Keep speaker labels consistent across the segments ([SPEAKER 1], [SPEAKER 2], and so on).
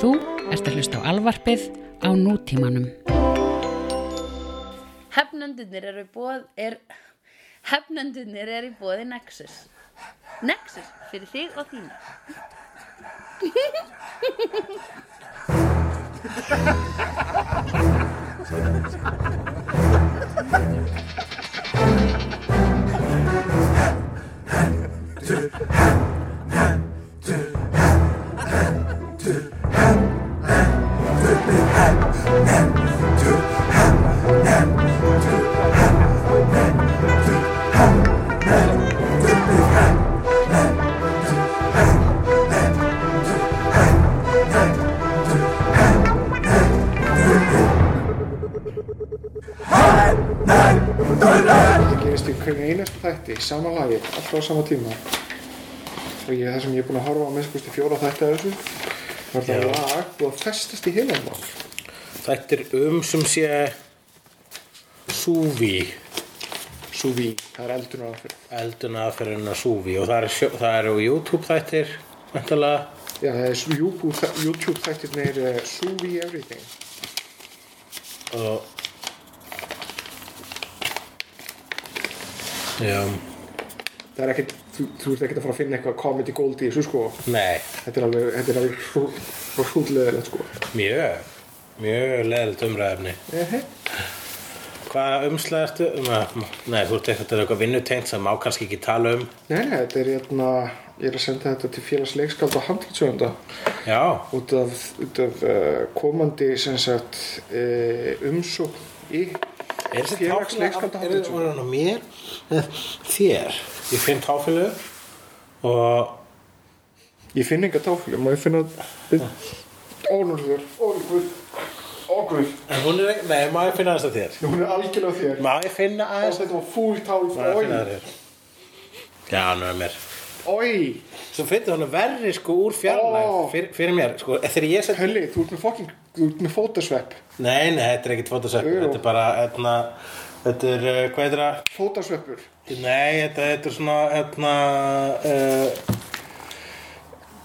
[SPEAKER 1] Þú ert að hlusta á alvarpið á nútímanum.
[SPEAKER 2] Hefnendunir eru í bóð er, Hefnendunir eru í bóði Nexus Nexus fyrir þig og þína
[SPEAKER 3] Það gerist í hverju einasta þætti, sama lagi, alltaf á sama tíma. Og ég, það sem ég er búinn að horfa á minnstakosti fjóra þætti af þessu, var það lag búið að festast í heilan mál.
[SPEAKER 4] Þetta er um sem sé súvi,
[SPEAKER 3] Súví, það er eldur og aðferð.
[SPEAKER 4] elduna aðferðin að súvi og það er, sjó, það er á YouTube þættir, vantalega.
[SPEAKER 3] Já, það er sú- YouTube þæ- YouTube þættir með uh, Súví Everything.
[SPEAKER 4] og Já,
[SPEAKER 3] Það er ekkert, þú, þú ert ekkert að fara að finna eitthvað comedy gold í þessu sko.
[SPEAKER 4] nei,
[SPEAKER 3] Þetta er alveg, þetta er alveg hrú- hrútlegilegt sko.
[SPEAKER 4] mjög, mjög leðilt umræðefni.
[SPEAKER 3] Ehe.
[SPEAKER 4] Hvað umslega ertu? Um, nei, þú ert eitthvað, eitthvað vinnutengt sem má kannski ekki tala um.
[SPEAKER 3] Nei, nei, þetta er hérna, ég er að senda þetta til félagsleikskald og handlatsöfunda.
[SPEAKER 4] Já,
[SPEAKER 3] út af, út af uh, komandi sem sagt uh, umsókn í
[SPEAKER 4] er þessi
[SPEAKER 3] félagsleikskald
[SPEAKER 4] táfélag, er þetta orðan á mér? Eða Þér, ég finn táfélu og
[SPEAKER 3] ég finn enga táfli, má ég finna ónúrður, ónúrður ónúrður,
[SPEAKER 4] En hún er ekki, nei, má ég finna aðeins að þér?
[SPEAKER 3] hún er algjörlega þér
[SPEAKER 4] Má ég finna
[SPEAKER 3] þess
[SPEAKER 4] aðeins
[SPEAKER 3] að þetta var fúl tálf
[SPEAKER 4] Má ég finna að þér? Já, nú er mér.
[SPEAKER 3] oi,
[SPEAKER 4] Svo finnir hún er verri sko úr fjarlæg
[SPEAKER 3] Ó.
[SPEAKER 4] fyrir, fyrir mér, sko, þegar ég set...
[SPEAKER 3] Pelli, þú ert með fucking, þú ert með fótasvepp
[SPEAKER 4] Nei, nei, þetta er ekkit fótasökk,
[SPEAKER 3] Jú.
[SPEAKER 4] þetta er bara, hérna, þetta er, uh, hvað er það?
[SPEAKER 3] fótasveppur,
[SPEAKER 4] Nei, þetta, þetta er svona, hérna, uh,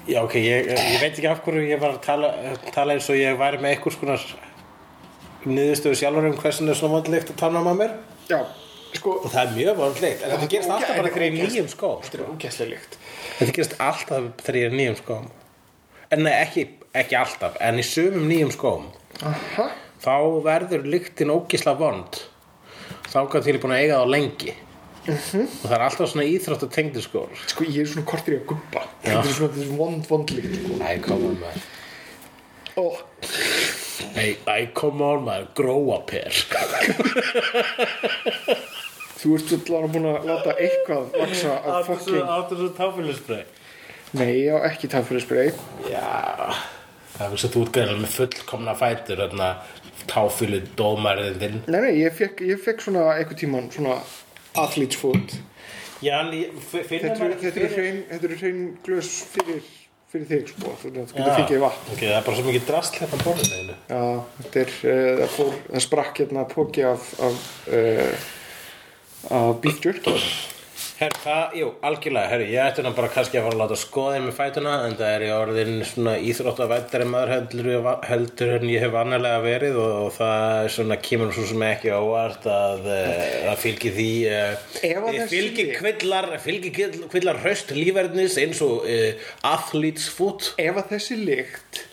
[SPEAKER 4] já, ok, ég, eh, ég veit ekki af hverju ég var að tala, eh, tala eins og ég væri með einhvers konar niðurstöðu sjálfur um hversin er svona vandlegt að tannum að mér.
[SPEAKER 3] já, sko
[SPEAKER 4] Og það er mjög vandlegt, en þetta gerist alltaf bara þegar ég er í nýjum skóm.
[SPEAKER 3] þetta er ógæslega líkt
[SPEAKER 4] Þetta gerist alltaf þegar ég er í nýjum skóm. En nei, ekki, ekki alltaf, en í sumum nýjum skóm,
[SPEAKER 3] aha,
[SPEAKER 4] þá verður lyktin ógisla vond. Þá kann til ég búin að eiga þá lengi.
[SPEAKER 3] Mhm.
[SPEAKER 4] Og það er alltaf svona íþrótt og tengdiskór.
[SPEAKER 3] sko ég er svona kortir í að gubba þetta er svona þetta er vond, vond líkt sko.
[SPEAKER 4] Æ, come on, maður.
[SPEAKER 3] og
[SPEAKER 4] Æ, æ, come on, maður, grow up here.
[SPEAKER 3] Þú ert allavega búin að láta eitthvað vaksa að fucking...
[SPEAKER 4] Áttu svo táfélusbröð.
[SPEAKER 3] Nei, ég á ekki taf fyrir spray.
[SPEAKER 4] Já, það er þess að þú útgæðir með fullkomna fætur, þarna táfílu dómarinn þinn.
[SPEAKER 3] Nei, nei, ég fekk, ég fekk svona einhvern tíman svona athlete's foot.
[SPEAKER 4] Já, en ég finna
[SPEAKER 3] Þetta eru- þetta eru hrein, þetta eru hrein glös fyrir, fyrir þig, sko. Þú þú getur fengið vatn.
[SPEAKER 4] Ok, það er bara svo mikið drast hérna á borðinu einu.
[SPEAKER 3] Já, þetta er, uh, það fór, það sprakk hérna póki af, af, uh, af beef jerky.
[SPEAKER 4] Herr, það, jú, algjörlega, herri, ég ætti hann bara kannski að fara að láta skoðin með fætuna, en það er ég orðin svona íþróttavættari maður heldur, heldur en ég hef annarlega verið og, og það er svona kemur svo sem ekki á óvart að eh, það fylgir því,
[SPEAKER 3] Ef að
[SPEAKER 4] uh,
[SPEAKER 3] það
[SPEAKER 4] fylgir
[SPEAKER 3] sé-
[SPEAKER 4] kvillar, fylgir kvill- kvillar hraust lífverðnis eins og uh, athlete's foot.
[SPEAKER 3] Ef að þessi lykt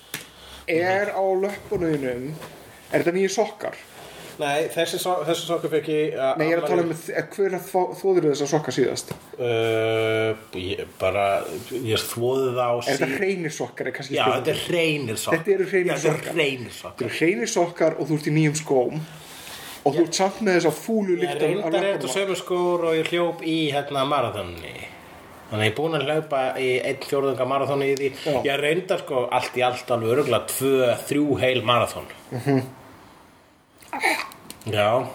[SPEAKER 3] er á löppunum, er þetta nýju sokkar?
[SPEAKER 4] Nei, þessi, so þessi sokkur fekk ég uh,
[SPEAKER 3] Nei, ég er að tala um hverja þóður þess að sokka síðast.
[SPEAKER 4] uh, ég, Bara, ég þvóði þá
[SPEAKER 3] Er þetta hreinir sokkar? Er kannski
[SPEAKER 4] Já,
[SPEAKER 3] spurning.
[SPEAKER 4] þetta er hreinir sokkar
[SPEAKER 3] Þetta eru hreinir
[SPEAKER 4] Já, þetta
[SPEAKER 3] sokkar.
[SPEAKER 4] eru hreinir sokkar
[SPEAKER 3] Þú eru hreinir sokkar og þú ert í nýjum skóm og þú ert samt með þess að fúlu
[SPEAKER 4] Ég
[SPEAKER 3] líkt
[SPEAKER 4] reyndar er þetta sömu skór og ég hljóp í hérna marathonni Þannig að ég er búinn að hlaupa í einn fjórðunga marathoni í því
[SPEAKER 3] Já.
[SPEAKER 4] Ég reyndar sko allt í allt alveg öruglega tvö, þrjú heil marathon
[SPEAKER 3] Mhm.
[SPEAKER 4] Já,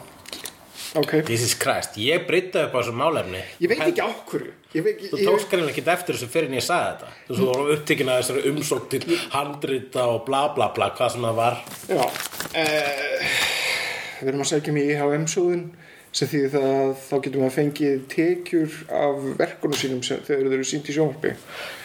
[SPEAKER 3] Ok,
[SPEAKER 4] this is Christ Ég breytta upp á þessu málefni
[SPEAKER 3] ég veit ekki á hverju Ég veit
[SPEAKER 4] Þú
[SPEAKER 3] ekki, ég,
[SPEAKER 4] tókst greinlega ekki eftir þessu fyrir en ég sagði þetta. Þú svo voru upptekinn að þessari umsókn til handrita og bla bla bla, hvað sem það var.
[SPEAKER 3] Eh, um já uh, Við erum að segja mér í IHM sjóðin sem því það að þá getur maður fengið tekjur af verkunum sínum sem, þegar þau eru sínt í sjónvarpi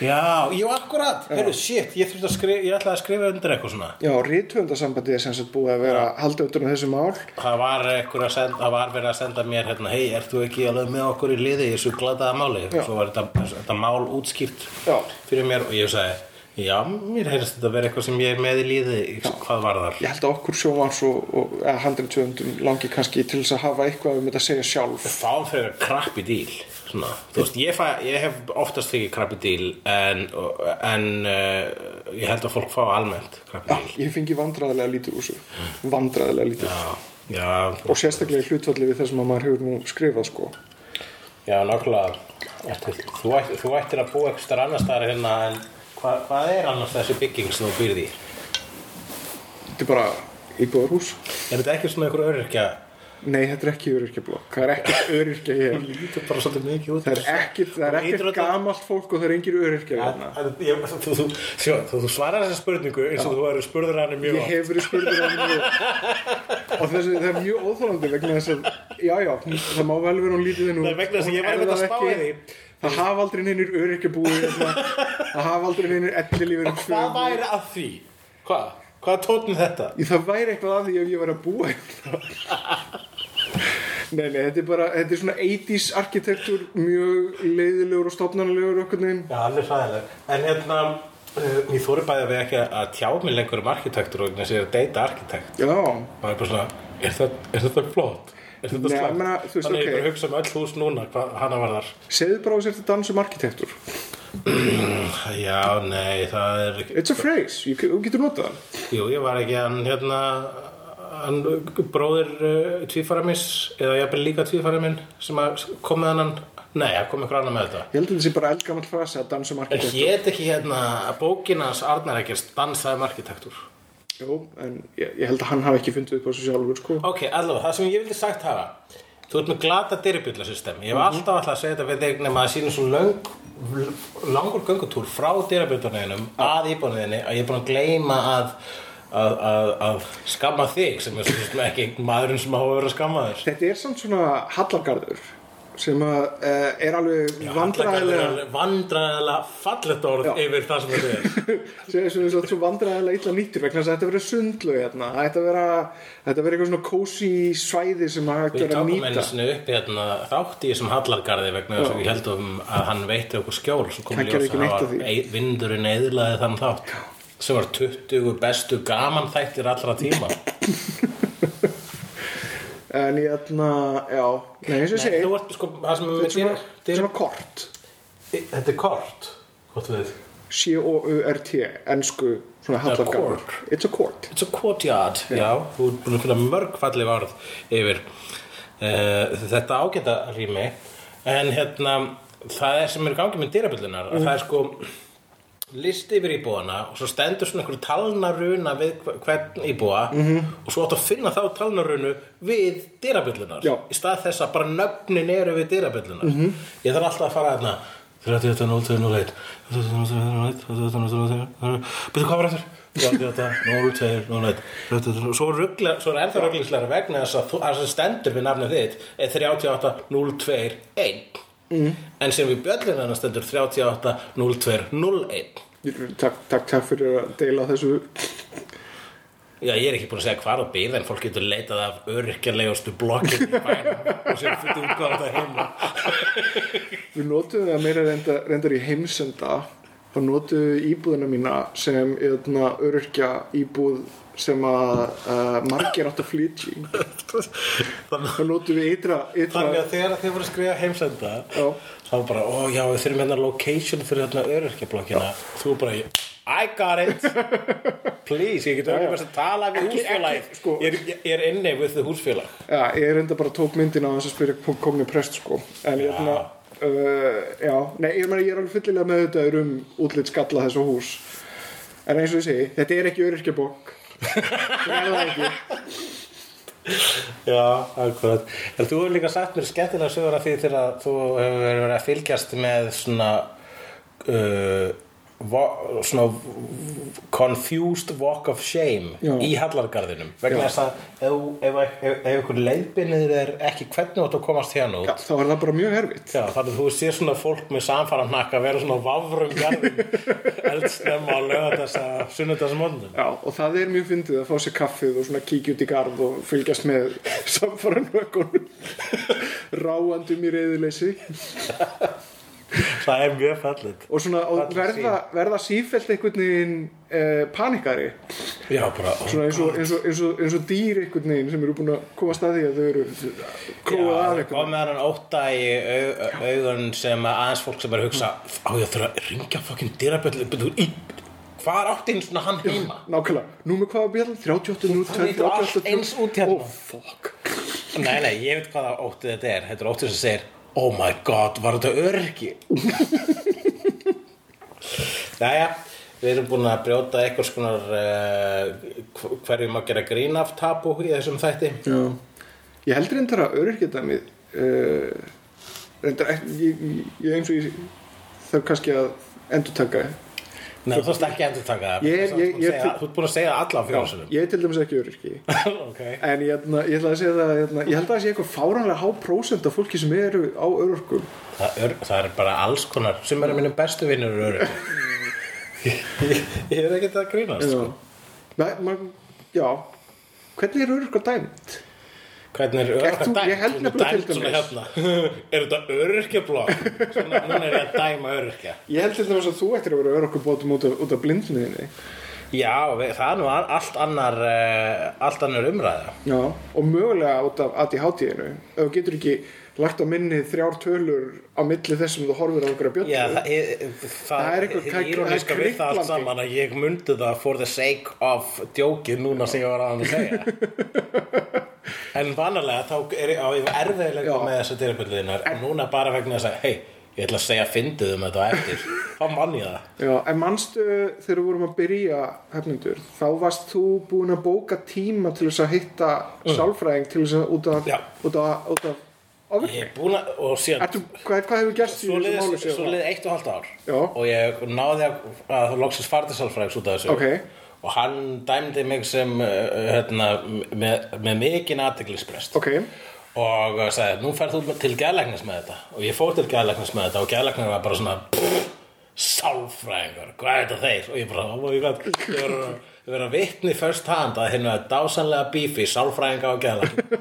[SPEAKER 4] Já, jú, akkurat, heyrðu, shit, ég þurfti að skrifa, ég ætlaði að skrifa undir eitthvað svona
[SPEAKER 3] Já, rithöfundasambandið er sem sagt búið að vera haldið utan um þessu mál
[SPEAKER 4] Það var, einhver að senda, það var verið að senda mér hérna, hei, ert þú ekki alveg með okkur í liði í þessu glataða máli?
[SPEAKER 3] Já.
[SPEAKER 4] Svo var þetta, þetta mál útskýrt
[SPEAKER 3] Já.
[SPEAKER 4] fyrir mér og ég sagði, já, mér heyrðist þetta verið eitthvað sem ég er með í liði, hvað var þar?
[SPEAKER 3] Ég held að okkur sjónvars og, og eða handritöfundum langi kannski til þess að hafa eitthvað um þetta að segja sjálf
[SPEAKER 4] Við fáum frekar krabbi díl svona. Þú veist, ég, fæ, ég hef oftast fengið krabbi díl en, en uh, ég held að fólk fá almennt krabbi díl
[SPEAKER 3] Ah, Ég fengi vandræðilega lítið úr þessu Vandræðilega lítið
[SPEAKER 4] Já, já,
[SPEAKER 3] Og sérstaklega í hlutfalli við það sem að maður hefur nú skrifað sko
[SPEAKER 4] já nokkulega Ertu- þú, ætt, þú ættir að búa eitthvað annars staðar hérna en hva, hvað er annars þessi bygging sem þú býrð í?
[SPEAKER 3] Þetta er bara íbúðarhús
[SPEAKER 4] Er þetta ekki svona einhver öryrkja?
[SPEAKER 3] Nei, þetta er ekki öryrkjablokk Það er ekkert öryrkja hér
[SPEAKER 4] Lítur bara svolítið mikið út
[SPEAKER 3] Það er ekkert, það er ekkert gamalt fólk og það er engir öryrkja hérna
[SPEAKER 4] Þú, þú, þú, sjá, þú, þú svarar þessi spurningu eins og þú eru spurður hann mjög
[SPEAKER 3] Ég hef verið spurður af henni og- og þessi, það er mjög óþólandi vegna þess að, já, já, það má vel vera hún lítið þinn
[SPEAKER 4] Það er vegna þess að ég var einmitt að spá í því.
[SPEAKER 3] Það hafa aldrei neynir öryrkjabúi hérna. það hafa aldrei neynir ellilífur
[SPEAKER 4] Hvað væri að því? Hvað? Hvað er tóttum þetta?
[SPEAKER 3] Það væri eitthvað af því ef ég væri að búa hérna. Nei, nei, þetta er bara, þetta er svona 80s arkitektur, mjög leiðilegur og stofnanlegur okkur neginn
[SPEAKER 4] Já, alveg fræðileg. En hérna, uh, ég þóri bæði að við ekki að tjá mig lengur um arkitektur og þess að ég er að deyta arkitekt.
[SPEAKER 3] Já,
[SPEAKER 4] Maður er bara svona, er þetta, er þetta flott? Er þetta
[SPEAKER 3] Nei,
[SPEAKER 4] slæmt?
[SPEAKER 3] ég meina, þú veist,
[SPEAKER 4] Þannig
[SPEAKER 3] ok.
[SPEAKER 4] ég bara hugsa um öll hús núna, hvað hana var þar.
[SPEAKER 3] segðu bara á sér þetta dans um arkitektur
[SPEAKER 4] Já, nei, það er ekki,
[SPEAKER 3] It's a phrase, you- þú getur notað hann
[SPEAKER 4] jú, ég var ekki hann, hérna, hann bróðir uh, tvífara mis, eða ég er líka tvífara minn sem að kom með hann, nei, það kom eitthvað annað með þetta.
[SPEAKER 3] Ég held að þetta sé bara eldgammal frasa að dansa um
[SPEAKER 4] En
[SPEAKER 3] arkitektur.
[SPEAKER 4] hét ekki hérna að bókin hans Arnar Ekkert dansaði um arkitektur?
[SPEAKER 3] Jó, en ég, ég held að hann hafi ekki fundið upp á þessu sjálfur, sko.
[SPEAKER 4] Ok, allavega, það sem ég vildi sagt hafa Þú ert með glata dyrabjöllasystem Ég hef alltaf alltaf að segja þetta við þig nema að sínum svo löng, langur göngutúr frá dyrabjöllunum að íbúinniðinni að ég er búin að gleyma að, að, að, að skamma þig sem er svo sem ekki maðurinn sem á að vera skammaður
[SPEAKER 3] Þetta er samt svona hallargarður sem að, uh, er alveg vandræðilega,
[SPEAKER 4] Vandræðilega fallet orð
[SPEAKER 3] Já.
[SPEAKER 4] yfir það sem þetta er
[SPEAKER 3] sem er svona svo vandræðilega illa nýttur vegna þess að þetta verið sundlu hérna. Það ætti að vera, þetta verið eitthvað svona kósi svæði sem að hægt
[SPEAKER 4] Við
[SPEAKER 3] verið að
[SPEAKER 4] tókum einu
[SPEAKER 3] nýta.
[SPEAKER 4] sinni upp hérna, þátt í þessum hallargarði vegna þess að við heldum að hann veitti okkur skjól svo kom
[SPEAKER 3] Hann gerði ekki neitt af því.
[SPEAKER 2] því.
[SPEAKER 4] ei, vindurinn eðlaði þann þátt sem var 20 bestu gaman þættir allra tíma
[SPEAKER 3] En ég ætla, já, nei, eins og ég
[SPEAKER 4] Nei,
[SPEAKER 3] segi,
[SPEAKER 4] Þú ert sko, það sem
[SPEAKER 3] þetta er
[SPEAKER 4] við
[SPEAKER 3] svona,
[SPEAKER 4] dyr-
[SPEAKER 3] dyr...
[SPEAKER 4] dyr-
[SPEAKER 3] svona kort,
[SPEAKER 4] Þetta er kort Hvort við
[SPEAKER 3] C-O-U-R-T, ensku, svona
[SPEAKER 4] a
[SPEAKER 3] hallargarður. It's a court.
[SPEAKER 4] It's a courtyard, já, þú ert búin að finna mörg fallið varð yfir uh, þetta ágæta rými en hérna, það er sem er í gangi með dyrabjöldunar, mm. það er sko listi yfir íbúana og svo stendur svona einhver talnaruna við hver- hvern íbúa -hmm. og svo átt að finna þá talnarunu við dyrabjöldunar
[SPEAKER 3] Já.
[SPEAKER 4] í stað þess að bara nöfnin eru við dyrabjöldunar -hmm. ég þarf alltaf að fara þarna 38.02.01 38.02.01 38.02.01 Byrðu hvað var eftir? 38.02.01 38.02.01 Svo ruggla, svo er ennþá rugglingslega vegna þess að þú- það sem stendur við nafnið þitt er 38.02.01 mm. en sem við bjöllin hennar stendur 38.02.01
[SPEAKER 3] Takk, takk, takk fyrir að deila þessu
[SPEAKER 4] Já, ég er ekki búin að segja hvar það býrð en fólk getur leitað af öryrkjalegustu blokkin í bænum og sem fyrir útgáða það heima
[SPEAKER 3] Við notuðum það meira reyndar, reyndar í heimsenda þá notuðum við íbúðina mína sem öðna, öryrkja íbúð sem að uh, margir átt að flytja í.
[SPEAKER 4] Þannig
[SPEAKER 3] Þá notuðum við ytra,
[SPEAKER 4] Þannig
[SPEAKER 3] ytra
[SPEAKER 4] að þegar þið voru að skrifa heimsenda
[SPEAKER 3] Já.
[SPEAKER 4] þá bara, ó já, við þurfum hérna location fyrir hérna öryrkjablokkina þú bara, I got it please, ég get auðvitað að tala við
[SPEAKER 3] Ekki-
[SPEAKER 4] húsfélagið,
[SPEAKER 3] ekki, sko.
[SPEAKER 4] ég, er- ég er inni við þið húsfélag
[SPEAKER 3] Já, ég reyndar bara tók myndina á þess að spyrja kom- komni prest sko. En ég öðna, uh, já, nei, ég, meni, ég er alveg fyllilega með þetta um útlitt skalla þessu hús. En eins og ég segi, þetta er ekki öryrkjabokk. Það er það ekki.
[SPEAKER 4] já, akkurat en þú hefur líka sagt mér skemmtilega sögur af því þegar þú hefur verið að fylgjast með svona uh, vo- svona confused walk of shame
[SPEAKER 3] Já.
[SPEAKER 4] í hallargarðinum vegna þess að ef, ef, ef, ef ykkur leiðbinnir er ekki hvernig átt að komast hérna út
[SPEAKER 3] Já, þá er það bara mjög erfitt
[SPEAKER 4] Já, þannig að þú sér svona fólk með samfæramnakka að vera svona á vafrum garðum eldsnemma að löga þess að sunnudagsmóndum
[SPEAKER 3] Já, og það er mjög fyndið að fá sér kaffið og svona kíkja út í garð og fylgjast með samfaran vökkunum ráandum um í reyðuleysi
[SPEAKER 4] það er mjög fallit
[SPEAKER 3] og svona og
[SPEAKER 4] Falleg
[SPEAKER 3] verða, verða sífelt einhvern veginn eh, panikari
[SPEAKER 4] Já, bara
[SPEAKER 3] svona eins og, eins, og, eins, og, eins og dýr einhvern veginn sem eru búin að koma að því að þau eru króað
[SPEAKER 4] Já,
[SPEAKER 3] að
[SPEAKER 4] kom
[SPEAKER 3] einhvern
[SPEAKER 4] með hann óta í au, augun sem að aðeins fólk sem er að hugsa á ég að þurfa að ringja fokkin dyrabjöldu hvað er átt einn svona hann heima
[SPEAKER 3] nákvæmlega, nú með hvað að bjalla 38 nú,
[SPEAKER 4] Það lítur allt eins út hérna.
[SPEAKER 3] oh fuck
[SPEAKER 4] nei nei ég veit hvaða ótti þetta er þetta er ótti sem segir oh my god var þetta örgi Jæja, við erum búin að brjóta eitthvað skonar uh, hverjum að gera grín af tapu í þessum þætti
[SPEAKER 3] Já. Ég heldur reyndar að öryrkjadæmið uh, reyndar ekki- ég, ég, ég eins og ég þarf kannski að endurtaka
[SPEAKER 4] Nei, þú þarst ekki að endur taka það
[SPEAKER 3] Ég-
[SPEAKER 4] þú ert búin
[SPEAKER 3] ég-
[SPEAKER 4] að
[SPEAKER 3] ég-
[SPEAKER 4] segja- þú ert búin að segja allan fjóðsunum
[SPEAKER 3] ég er til dæmis ekki öryrki
[SPEAKER 4] okay.
[SPEAKER 3] en ég, ætla- ég ætla að segja það ég, ég held að það sé eitthvað fáránlega há prósent af fólki sem eru á örorkum
[SPEAKER 4] Það er, það er bara alls konar sem er að minnum bestu vinnur eru ég, ég, ég er ekkert að grínast
[SPEAKER 3] Já,
[SPEAKER 4] sko.
[SPEAKER 3] Nei, man, já. hvernig er öryrkja dæmt?
[SPEAKER 4] Hvernig er
[SPEAKER 3] Ert
[SPEAKER 4] öryrkja
[SPEAKER 3] þú-
[SPEAKER 4] dæmt?
[SPEAKER 3] ég held
[SPEAKER 4] Þú
[SPEAKER 3] nefnilega
[SPEAKER 4] dæmt
[SPEAKER 3] til
[SPEAKER 4] svona
[SPEAKER 3] dæmis.
[SPEAKER 4] hérna. Er þetta öryrkja blokk? Svona, núna er ég að dæma öryrkja
[SPEAKER 3] Ég held til dæmis að þú ættir að vera örorkubótum út af, út af blindniðinni
[SPEAKER 4] Já, við, það er nú al- allt annar uh, allt annar umræða
[SPEAKER 3] Já, og mögulega út af ADHD-inu ef þú getur ekki lagt á minni þrjár tölur á milli þess sem þú horfir á einhverja bjöldu
[SPEAKER 4] Já, það, er- það,
[SPEAKER 3] Það er eitthvað-
[SPEAKER 4] hið íróníska
[SPEAKER 3] það er
[SPEAKER 4] við það allt
[SPEAKER 3] kriklandi.
[SPEAKER 4] saman að ég myndi það for the sake of djókið núna sem ég var að hann að segja en vanalega þá er ég, á ég erfiðilega
[SPEAKER 3] Já.
[SPEAKER 4] með þessar dyrabjölduðinar en núna bara vegna þess að hei, ég ætla að segja fyndið um þetta á eftir þá mann ég það
[SPEAKER 3] Já, en manstu þegar við vorum að byrja hefnendur, þá varst þú búin að bóka tíma til þess að hitta sálfræðing til þess að út af
[SPEAKER 4] Mm. Já.
[SPEAKER 3] út af, út af ofvirkni.
[SPEAKER 4] ég er búin að, og síðan
[SPEAKER 3] Ertu, hvað, hvað hefur gerst
[SPEAKER 4] svo
[SPEAKER 3] í
[SPEAKER 4] liðið
[SPEAKER 3] þessu máli
[SPEAKER 4] svo
[SPEAKER 3] síðan?
[SPEAKER 4] liðið eitt og halvt ár
[SPEAKER 3] Já.
[SPEAKER 4] og ég náði að, að það loksins fartisálfræðis út af þessu
[SPEAKER 3] Ok.
[SPEAKER 4] og hann dæmdi mig sem uh, hérna, með, með mikinn aðteglisbrest
[SPEAKER 3] Ok,
[SPEAKER 4] og uh, sagði, nú færð þú til geðlæknis með þetta og ég fór til geðlæknis með þetta og geðlæknir var bara svona "Pff, sálfræðingur, hvað er þetta þeir og ég bara, oh my god ég var að- ég var að vitni first hand að hérna er dásanlega bífi, sálfræðinga og geðlæknir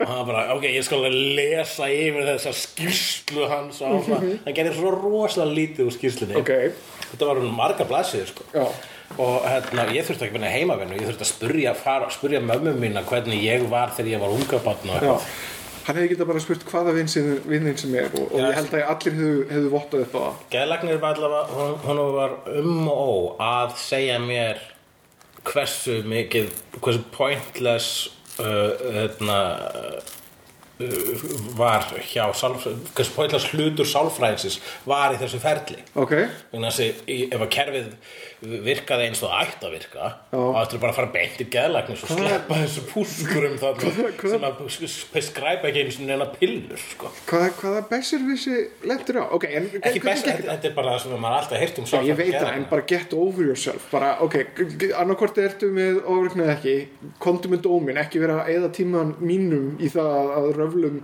[SPEAKER 4] og hann bara, ok, ég skal alveg lesa yfir þessa skýrslu hans og hann, hann gerði svo rosalega lítið úr skýrslunni
[SPEAKER 3] ok,
[SPEAKER 4] þetta var hún marga blaðsíður sko
[SPEAKER 3] Já.
[SPEAKER 4] og hérna, ég þurfti ekki minna heimavinnu ég þurfti að spurja, fara, spurja mömmu mína hvernig ég var þegar ég var unga barn og
[SPEAKER 3] já.
[SPEAKER 4] eitthvað
[SPEAKER 3] Hann hefði getað bara spurt hvaða vinn sin- vinn þinn sem er og, og ég held að allir hefðu, hefðu vottað upp á það.
[SPEAKER 4] Gæðlagnir var allavega, hún, hún var um og ó að segja mér hversu mikið, hversu pointless uh, hérna, uh, var hjá sálfræðin, hversu pointless hlutur sálfræðinsins var í þessu ferli.
[SPEAKER 3] Ok,
[SPEAKER 4] Þannig að þessi, í- ef að kerfið virkaði eins og það ætti að virka,
[SPEAKER 3] Já.
[SPEAKER 4] þá ættir bara að fara beint í geðlagnis og sleppa þessu púskurum þarna
[SPEAKER 3] hvað-
[SPEAKER 4] sem að skræpa ekki einu sinni neina pillur, sko.
[SPEAKER 3] hvað, hvaða bessir vissi lendur á? Ok, en
[SPEAKER 4] Ekki best, þetta þetta er bara það sem maður alltaf heyrt um
[SPEAKER 3] Já, ég veit það,
[SPEAKER 4] sálfræðinga.
[SPEAKER 3] en bara get over yourself bara, ok, annarkvort ertu með ofurknið ekki, komdu með dómin ekki vera að eða tíman mínum í það að röflum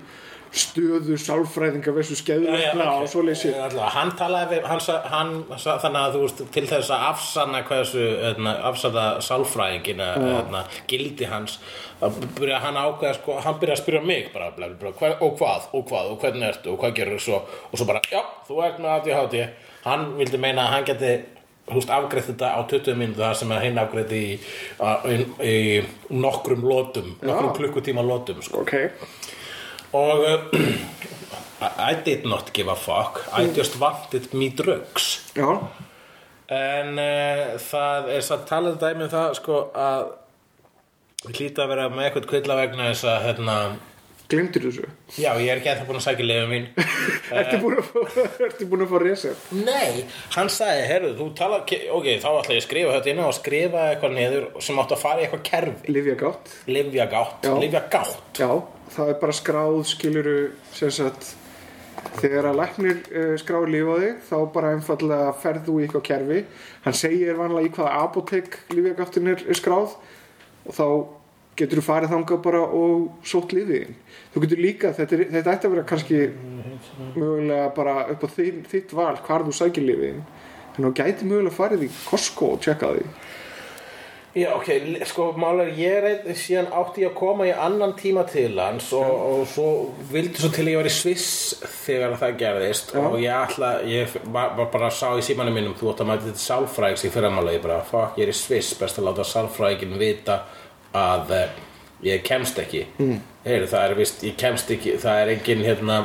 [SPEAKER 3] stöðu sálfræðinga versus
[SPEAKER 4] Já,
[SPEAKER 3] skeðurna
[SPEAKER 4] já, ok.
[SPEAKER 3] og svo leysi
[SPEAKER 4] Eh, allavega, Hann talaði við, hann, sa- hann sa- þannig að þú veist, til þess að afsanna hversu, öðna, afsanna sálfræðingina, öðna, gildi hans, að byrja hann ákveða, sko, hann byrja að spyrja mig bara, bla, bla, bla, hver, og hvað, og hvað, og hvernig ertu, og hvað gerur svo, og svo bara, já, þú ert með ADHD, hann vildi meina að hann geti, húst, afgreitt þetta á 20 mínútu það sem hann afgreitt í, að- í, í nokkrum lótum, nokkrum klukkutíma lótum, sko.
[SPEAKER 3] ok,
[SPEAKER 4] Og uh, I did not give a fuck I just wanted me drugs
[SPEAKER 3] já
[SPEAKER 4] En uh, það er satt talað dæmi um það sko að Ég hlýta að vera með eitthvað kvilla vegna þess að hérna
[SPEAKER 3] glemdur þessu
[SPEAKER 4] Já, ég er ekki að það búin að sækja liðum mín
[SPEAKER 3] ertu búin að fá, ertu búin að fá resett
[SPEAKER 4] Nei, hann sagði, heyrðu, þú tala Ok, þá ætla ég að skrifa þetta inn og skrifa eitthvað niður sem áttu að fara í eitthvað kerfi
[SPEAKER 3] lifja gátt,
[SPEAKER 4] Livja gátt,
[SPEAKER 3] Já.
[SPEAKER 4] livja gátt
[SPEAKER 3] já það er bara skráð skiluru sem sagt þegar að læknir uh, skráir líf á þig þá bara einfallega ferð þú í eitthvað kerfi hann segir vanlega í hvaða apotek lífjagáttin er, er skráð og þá getur þú farið þangað bara og sótt lífið þín þú getur líka, þetta, er, þetta ætti að vera kannski mögulega bara upp á þín, þitt val hvar þú sækir lífið þín en þú gæti mögulega farið í Costco og tjekka því
[SPEAKER 4] Já, ok, l- sko, málega ég er einn, síðan átti ég að koma í annan tíma til hans og, og svo vildi svo til að ég var í Sviss þegar það gerðist og ég ætla, ég var, var bara sá í símanum mínum, þú átt að mæta þetta sálfræðings í fyrramála, ég bara, fuck, ég er í Sviss, best að láta sálfræðingin vita að eh, ég kemst ekki. Mm. Heyru, það er vist, ég kemst ekki, það er engin, hérna,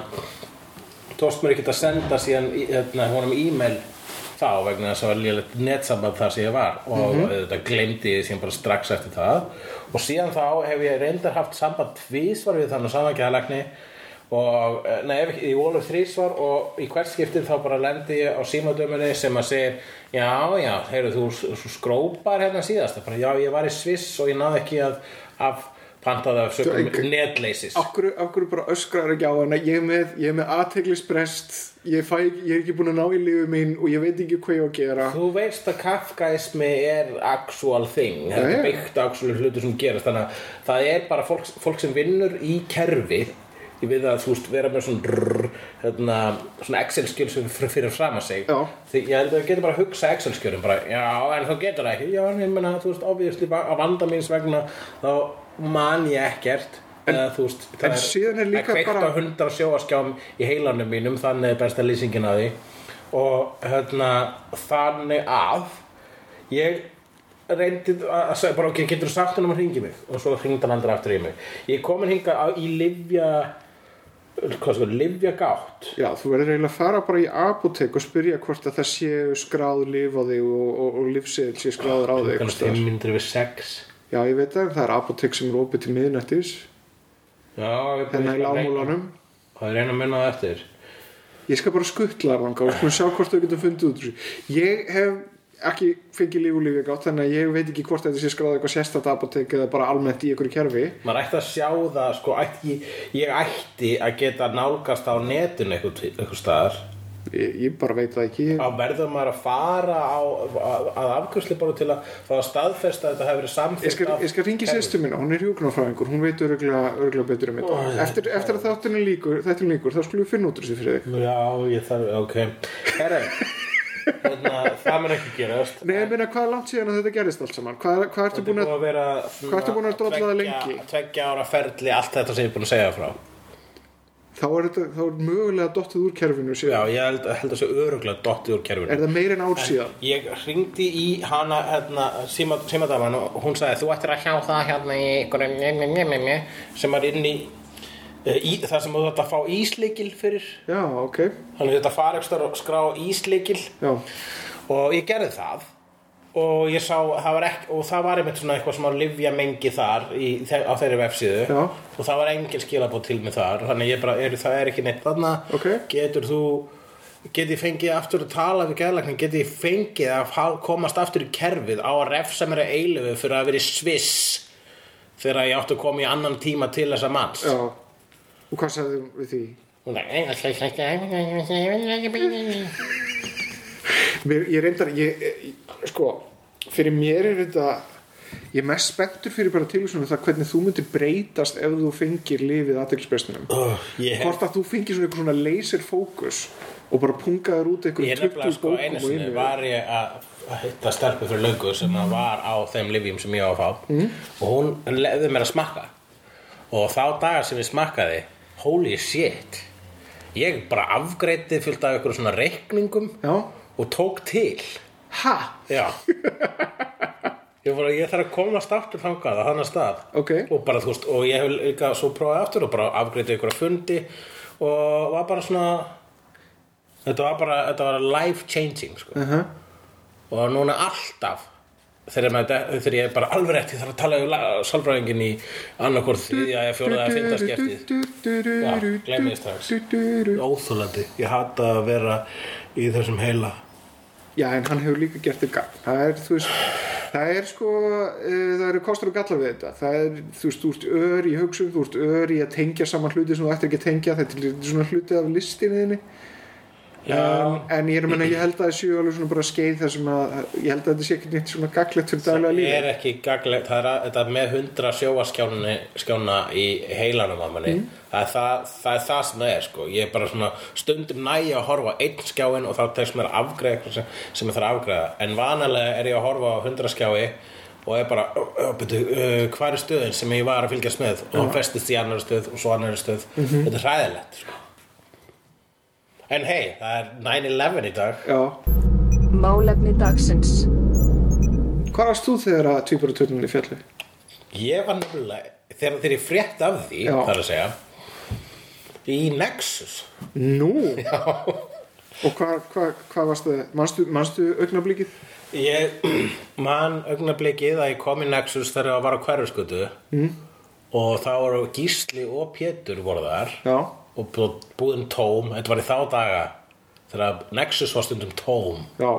[SPEAKER 4] tókst mér ekkert að senda síðan í- hérna, honum e-mail þá vegna þess að var lélegt netsamband þar sem ég var og mm þetta glemdi ég síðan bara strax eftir það og síðan þá hef ég reyndar haft samband tvísvar við þannig samangjæðalagni og, eh, nei, ef ekki, í ólum þrísvar og í hvert skiptið þá bara lendi ég á símadömunni sem að segir já, já, heyrðu, þú s- s- skrópar hérna síðast bara, já, ég var í Sviss og ég náði ekki að af pantaða af sökum
[SPEAKER 3] Þú-
[SPEAKER 4] netleysis
[SPEAKER 3] af hverju, af hverju bara öskrar ekki á hana ég er með, ég er með aðteglisbrest ég, fæ, ég er ekki búin að ná í lífið mín og ég veit ekki hvað ég á að gera
[SPEAKER 4] Þú veist að kafkaismi er actual thing, það
[SPEAKER 3] Já,
[SPEAKER 4] er
[SPEAKER 3] já.
[SPEAKER 4] byggt á actual hlutu sem gerast, þannig að það er bara fólk, fólk sem vinnur í kerfi í við að þú veist vera með svona, drrr, hérna, svona Excel-skjöl sem fyrir, fyrir fram að sig
[SPEAKER 3] Já.
[SPEAKER 4] því ég held að við getum bara að hugsa Excel-skjölum bara, já, en þú getur það ekki já, en ég menna, þú veist, ofviðsli á vanda míns vegna, þá man ég ekkert eða þú veist, það
[SPEAKER 3] en síðan er líka
[SPEAKER 4] það kveikt
[SPEAKER 3] bara-
[SPEAKER 4] á hundra sjóaskjám í heilanum mínum, þannig er besta lýsingin að því og hérna þannig að ég reyndi að segja bara ok, getur þú sagt hann um að ringi mig og svo hringdi hann andra aftur í mig ég er komin hinga á, í livja hvað sko, livja gátt
[SPEAKER 3] Já, þú verður eiginlega að fara bara í apotek og spyrja hvort að það séu skráð líf á þig og, og, og lífseðil séu skráður á þig einhvers
[SPEAKER 4] kannski
[SPEAKER 3] staðar.
[SPEAKER 4] myndir við sex
[SPEAKER 3] Já, ég veit það, en það er apotek sem er opið til miðnættis
[SPEAKER 4] já, ég
[SPEAKER 3] hérna í lámúlanum
[SPEAKER 4] það er eina að minna það eftir
[SPEAKER 3] Ég skal bara skuttla þanga og skulum sko, sjá hvort þau getum fundið út úr þessu Ég hef ekki fengið líf og lífi gátt þannig að ég veit ekki hvort þetta sé skráð eitthvað sérstætt apotek eða bara almennt í einhverju kerfi
[SPEAKER 4] maður ætti að sjá það sko, ætti, ég ætti að geta nálgast á netinu eitthvað, eitthvað staðar
[SPEAKER 3] Ég, ég bara veit það ekki
[SPEAKER 4] þá verður maður að fara á, að, að afgjörsli bara til að fá að staðfesta að þetta hefur verið
[SPEAKER 3] Ég
[SPEAKER 4] samþýtt
[SPEAKER 3] skal, ég skal ringi sérstu minna, hún er hjúknarfræðingur, hún veit örgulega, örgulega betur um þetta. Eftir, eftir að þáttunni líkur, þáttunni líkur, þá skulum við finna út úr þessu fyrir þig.
[SPEAKER 4] Já, ég þarf, ok Herra, hérna, það mun ekki gerast
[SPEAKER 3] Nei, ég meina, hvað er langt síðan að þetta gerist allt saman? Hvað, hvað ertu búin að...
[SPEAKER 4] að vera
[SPEAKER 3] Hvað ertu búin að drolla það lengi?
[SPEAKER 4] Tveggja ára ferli, allt þetta sem ég er búin að segja frá
[SPEAKER 3] Þá er, þetta, þá er mögulega dottið úr kerfinu
[SPEAKER 4] Já,
[SPEAKER 3] síðan.
[SPEAKER 4] ég held, held að sé öruglega dottið úr kerfinu
[SPEAKER 3] Er það meira en ár síðan?
[SPEAKER 4] Ég ringdi í hana hérna, símadaman og hún sagði þú ættir að hjá það hérna í einhverjum njö, njö, njö, njö, sem er inn í, eh, í það sem þú ætti að fá ísleikil fyrir
[SPEAKER 3] Já, ok.
[SPEAKER 4] þannig þetta fara ekki stöður og skrá ísleikil
[SPEAKER 3] Já,
[SPEAKER 4] og ég gerði það og ég sá, það var ekki og það var einmitt svona eitthvað sem að livja mengi þar í, þe- á þeirri vefsíðu
[SPEAKER 3] Já.
[SPEAKER 4] og það var engin skilabóð til mig þar þannig ég bara, er, það er ekki neitt þarna
[SPEAKER 3] Ókei.
[SPEAKER 4] getur þú get ég fengið aftur að tala við gæðlagnin get ég fengið að ha- komast aftur í kerfið á að refsa mér að eilifu fyrir að vera í Sviss þegar ég átti að koma í annan tíma til þessa manns
[SPEAKER 3] já. Og hvað sagðum við því?
[SPEAKER 4] Hún er, "Nei, ætla ekki- ætla ekki- ætla ekki- ætla ekki- ætla ekki-
[SPEAKER 3] Mér, ég reyndar, ég, ég, sko, fyrir mér er þetta... Ég er mest spenntur fyrir bara tilvísunum um það hvernig þú myndir breytast ef þú fengir lifið aðeinsbrestinum.
[SPEAKER 4] Ugh, ég hef
[SPEAKER 3] Hvort að þú fengir svona einhver svona laser fókus og bara pungaður út
[SPEAKER 4] Ég
[SPEAKER 3] einhverjum
[SPEAKER 4] nefnilega
[SPEAKER 3] 20
[SPEAKER 4] sko
[SPEAKER 3] bókum
[SPEAKER 4] einu
[SPEAKER 3] og
[SPEAKER 4] sinni
[SPEAKER 3] yfir.
[SPEAKER 4] var ég að að hitta stelpu fyrir löngu sem að var á þeim livjum sem ég á að fá og hún leiði mér að smakka og þá dagar sem ég smakkaði holy shit ég bara afgreitið fullt af ykkur svona reikningum
[SPEAKER 3] Já.
[SPEAKER 4] og tók til
[SPEAKER 3] Ha?
[SPEAKER 4] já ég, bara, ég þarf að komast aftur þangað á þannig stað
[SPEAKER 3] Ok.
[SPEAKER 4] og bara þú veist og ég hef líka svo prófaði aftur og bara afgreitið ykkur að fundi og var bara svona þetta var bara þetta var life changing sko
[SPEAKER 3] Uh -huh.
[SPEAKER 4] og núna alltaf þegar, maður, þegar ég er bara alveg rétt ég þarf að tala um sálfræðingin í annarkvort þriðja eða fjóraða eða fymta skiptið Já, gleymið strax.
[SPEAKER 3] skiptið
[SPEAKER 4] óþúlandi, ég hata að vera í þessum heila
[SPEAKER 3] já, en hann hefur líka gert þér gagn það er, þú veist, það er sko uh, það eru kostur og gallar við þetta það er, þú veist, þú ert ör í hugsun þú ert ör í að tengja saman hluti sem þú ættir ekki að tengja þetta er lítið svona hluti af listinni þinni um, en ég er að menna, ég held að það séu alveg svona bara skeið þar sem að ég held að þetta sé ekki neitt svona gaglegt fyrir daglega lífi
[SPEAKER 4] er ekki gaglegt það er að, þetta með hundra sjóaskjána skjána í heilanum að manni það, er það, það er það sem það er sko. ég er bara svona stundum næja að horfa á einn skjáin og þá tekst mér að afgreiða eitthvað sem, sem ég þarf að afgreiða en vanalega er ég að horfa á hundra skjái og er bara, "Ö, ö, byrju, ö, hvað er stöðin sem ég var að fylgjast með og hann festist í annar stöð og svo annar stöð þetta er hræðilegt sko. en hei, það er 9-11 í dag
[SPEAKER 3] já,
[SPEAKER 5] Málefni dagsins.
[SPEAKER 3] hvað varst þú þegar að tvíbara törnum í fjalli?
[SPEAKER 4] Ég var nefnilega, þegar þegar ég frétt af því,
[SPEAKER 3] Já.
[SPEAKER 4] þar að segja, í Nexus.
[SPEAKER 3] nú, og hvað hva, hva varst það, manstu, manstu augnablíkið?
[SPEAKER 4] Ég man augnablikið að ég kom í Nexus þegar ég var á hverfuskutu mm. og þá voru Gísli og Pétur voru þar
[SPEAKER 3] já,
[SPEAKER 4] og bú- búðin tóm, þetta var í þá daga þegar Nexus var stundum tóm
[SPEAKER 3] já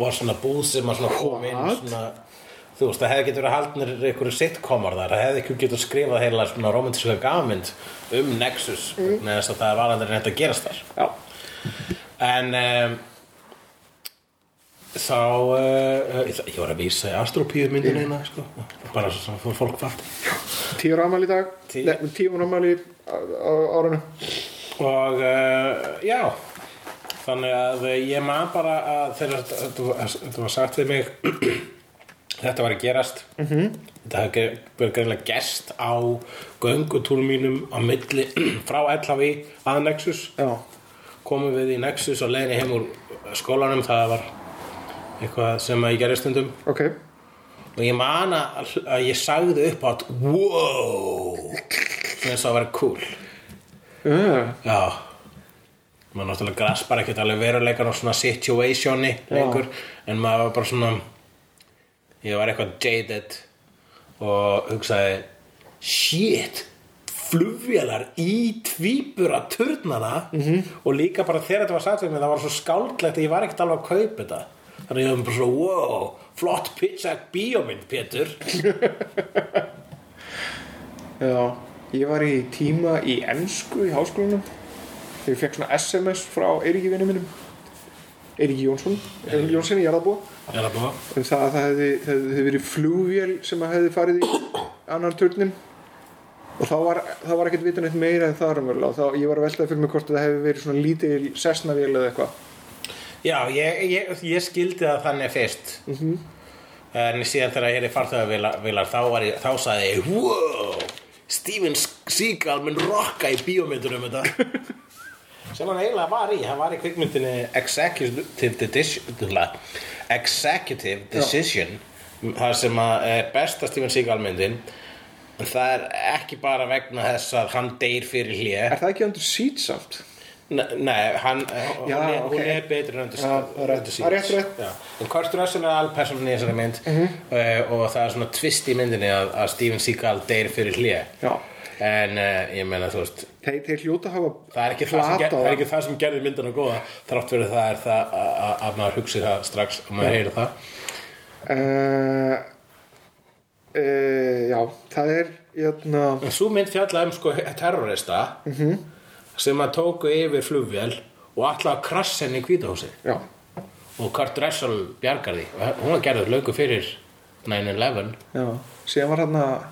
[SPEAKER 4] var svona búð sem að svona kom inn
[SPEAKER 3] What?
[SPEAKER 4] svona, þú veist, það hefði getur verið haldnir ykkur sitcomar þar, það hefði ekki getur skrifað heila svona romantíska gafmynd um Nexus, mm. þess að það var aldrei neitt að gerast þar
[SPEAKER 3] Já,
[SPEAKER 4] en um, þá uh, ég var að vísa í astropíu myndin eina sko. bara svo sem fór fólk fatt
[SPEAKER 3] tíu ára afmæli í dag
[SPEAKER 4] Tíu.
[SPEAKER 3] Nei, tíu ára afmæli á á- árinu
[SPEAKER 4] og uh, já þannig að ég man bara að þegar þetta var- þetta var sagt við mig þetta var að gerast -hmm. þetta hafði ge- verið greinlega gerst á göngutúrum mínum á milli frá LHV að Nexus
[SPEAKER 3] Já,
[SPEAKER 4] komum við í Nexus og leiðinni heim úr skólanum það var eitthvað sem að ég gerði stundum
[SPEAKER 3] ok
[SPEAKER 4] og ég man að, að ég sagði upp átt wow sem þess að vera cool
[SPEAKER 3] uh,
[SPEAKER 4] já maður náttúrulega graspar ekkert alveg veruleikan og svona situationi lengur en maður var bara svona ég var eitthvað jaded og hugsaði shit flugvélar í tvíbura turnana -hmm. og líka bara þegar þetta var sagt við mig það var svo skáldlegt að ég var ekkert alveg að kaupa þetta þannig að ég var bara svona wow flott pizza bíómynd Pétur
[SPEAKER 3] Já, ég var í tíma í ensku í háskólanum Þegar ég fekk svona SMS frá Eiríki vinnu mínum Eiríki Jónsson Eiríki Jónsson í Jarðabó
[SPEAKER 4] er það búið?
[SPEAKER 3] um það að það hefði, það hefði verið flugvél sem að hefði farið í annan turnin og þá var, þá var ekkert vitan eitt meira en það raunverulega og þá, ég var að veltaði fyrir mig hvort að það hefði verið svona lítið sessnavél eða eitthvað
[SPEAKER 4] Já, ég, ég, ég skildi það þannig fyrst En síðan þegar ég er í farþöðavilar þá, var ég- þá sagði ég Wow, Steven Seagal mun rocka í bíómyndunum þetta Sem hann eiginlega var í Hann var í kvikmyndinni Executive Decision Executive Decision Það sem að er besta Steven Seagal myndin En það er ekki bara vegna þess að hann deyr fyrir hlje
[SPEAKER 3] Er það ekki undir seat samt?
[SPEAKER 4] Ne- Nei, hann, hún,
[SPEAKER 3] Já,
[SPEAKER 4] er, hún
[SPEAKER 3] ok.
[SPEAKER 4] er betri en Under-
[SPEAKER 3] Já, það er rétt.
[SPEAKER 4] Under Siege.
[SPEAKER 3] Það er rétt, rétt. Mhm.
[SPEAKER 4] Já. En Kurt Russell er alpersónan í þessari mynd uh, og það er svona tvist í myndinni að, að Steven Seagal deyr fyrir hlje
[SPEAKER 3] Já.
[SPEAKER 4] En uh, ég meina, þú veist,
[SPEAKER 3] Þeir, þeir hljóta hafa
[SPEAKER 4] það er ekki það, sem, ger,
[SPEAKER 3] glatað.
[SPEAKER 4] það, er ekki það sem gerði myndina góða Þrátt fyrir það er það að- að að maður hugsi það strax og maður heyri það
[SPEAKER 3] uh, uh, já, það er hérna, jötna,
[SPEAKER 4] En svo mynd fjallaði um sko terrorista
[SPEAKER 3] Mhm.
[SPEAKER 4] sem að tóku yfir flugvél og alltaf að krassa henni í hvítahúsið
[SPEAKER 3] já,
[SPEAKER 4] og Kurt Russell bjargar því og hún var gerðið löngu fyrir 9-11
[SPEAKER 3] já síðan var hann að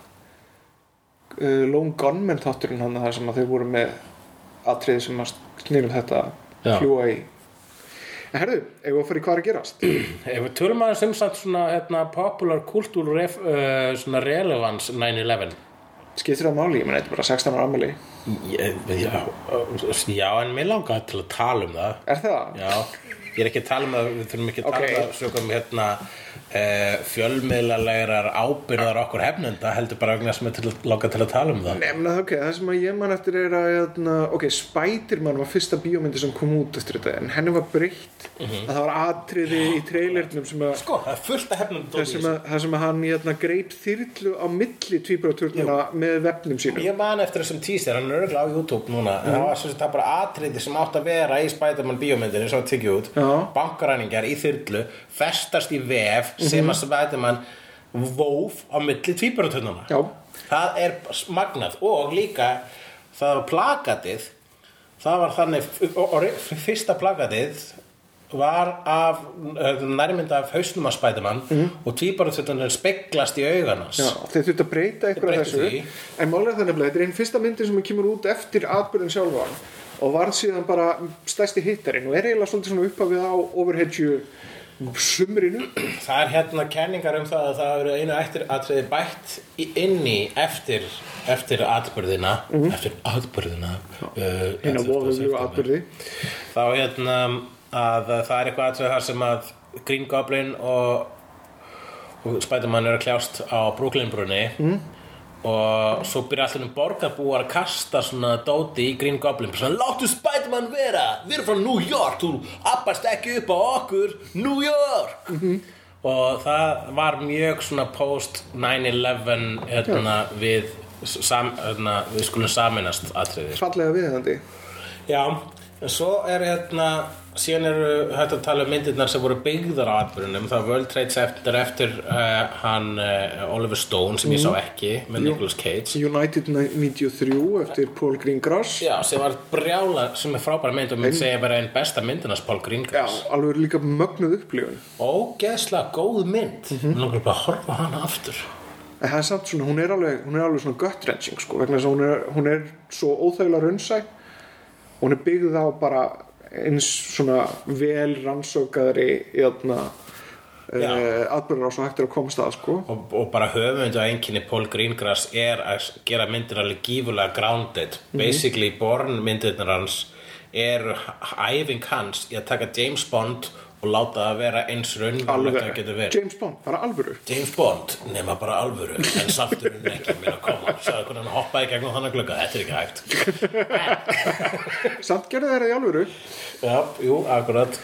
[SPEAKER 3] uh, Lone Gunman þátturinn hann þar sem að þeir voru með atriði sem að snýrum þetta
[SPEAKER 4] Já.
[SPEAKER 3] fljúa í en herðu, ef við að fara í hvað er að gerast
[SPEAKER 4] ef við tölum aðeins um samt svona hérna, popular kultúr ref, uh, svona relevance 9-11
[SPEAKER 3] skiptir það máli, ég menn, þetta er bara 16 ára ammali
[SPEAKER 4] já, já en mér langaði til að tala um það
[SPEAKER 3] er það?
[SPEAKER 4] já, ég er ekki að tala um það við þurfum ekki að
[SPEAKER 3] Ok.
[SPEAKER 4] tala um það sögum hérna uh, fjölmiðlarlegar ábyrðar okkur hefnenda heldur bara vegna sem er til að langa til að tala um það
[SPEAKER 3] Nefna, ok, það sem að ég man eftir er að jötna, ok, Spiderman var fyrsta bíómyndi sem kom út eftir þetta en henni var breytt
[SPEAKER 4] Mhm.
[SPEAKER 3] að það var atriði í trailernum sem að
[SPEAKER 4] sko, það er fullt að hefnenda
[SPEAKER 3] Það sem, að, það sem að hann hérna, greip þyrlu á milli tvíbraturnuna með vefnum sínum
[SPEAKER 4] Ég man eftir þessum tísir, hann er örgulega á YouTube núna en það var svo sem það bara atriði sem átt að vera í Spiderman bíómyndinu sem var tekið út
[SPEAKER 3] Já. Já.
[SPEAKER 4] bankaræningar í þyrlu festast í vef
[SPEAKER 3] Mhm.
[SPEAKER 4] sem að Spiderman vóf á milli tvíburatönduna
[SPEAKER 3] Já.
[SPEAKER 4] það er magnað og líka það var plakatið það var þannig og- og fyrsta plakatið var af eh, nærmynd af hausnum að Spiderman og tvíburatöndunum speglast í auganans
[SPEAKER 3] Mhm. Já, þeir þurft að breyta eitthvað
[SPEAKER 4] Þeir
[SPEAKER 3] af
[SPEAKER 4] breyttu
[SPEAKER 3] þessu
[SPEAKER 4] því.
[SPEAKER 3] En málega þannig að þetta er einn fyrsta myndin sem kemur út eftir atbyrðin sjálfan og varð síðan bara stærsti hittarinn og er eiginlega svolítið svona upphafið á overhedju sumrinu
[SPEAKER 4] Það er hérna kenningar um það að það eru einu eftir atriði bætt í- inn í eftir, eftir atbyrðina eftir atbyrðina uh,
[SPEAKER 3] hinn að voðulegu atbyrði
[SPEAKER 4] þá hérna að það er eitthvað atriði þar sem að Green Goblin og, og Spiderman eru að kljást á Brooklyn-brunni og svo byrja allir um borgarbúar að kasta svona dóti í Green Goblin svona láttu Spiderman vera við erum frá New York, þú appast ekki upp á okkur New York og það var mjög svona post 9-11 hérna, við, sam, hérna, við skulum saminast atriði
[SPEAKER 3] fallega viðhandi
[SPEAKER 4] Já, en svo er hérna síðan eru hægt að tala um myndirnar sem voru byggðar á atbyrjunum það er World Trade Center eftir uh, hann uh, Oliver Stone sem ég sá ekki með Nicolas Cage
[SPEAKER 3] United 93 eftir Paul Greengrass
[SPEAKER 4] Já, sem var brjála, sem er frábæra mynd og mynd segja bara einn besta myndinars Paul
[SPEAKER 3] Já,
[SPEAKER 4] Greengrass
[SPEAKER 3] alveg líka mögnuð upplifun
[SPEAKER 4] Ógeðslega góð mynd mm -hmm. Nókvæmlega bara að horfa á hana aftur
[SPEAKER 3] en það er samt svona, hún er alveg, hún er alveg svona gut-wrenching sko, vegna þess að hún er, hún er svo óþægilega raunsæ og hún er byggð á bara eins svona vel rannsókaðri hérna, jæna
[SPEAKER 4] Já.
[SPEAKER 3] uh, atbyrður á svo hægt er að komast að sko
[SPEAKER 4] og, og bara höfundu að einkinni Paul Greengrass er að gera myndir alveg gífulega grounded basically born myndirnar hans er æfing hans í að taka James Bond og láta það vera eins raunverulegt að getur verið
[SPEAKER 3] James Bond, bara alvöru
[SPEAKER 4] James Bond nema bara alvöru en samt er hún ekki meina koma sagði hvernig hann hoppaði í gegnum þannig glugga þetta er ekki hægt
[SPEAKER 3] samt gerði þeirra í alvöru
[SPEAKER 4] já, jú, akkurat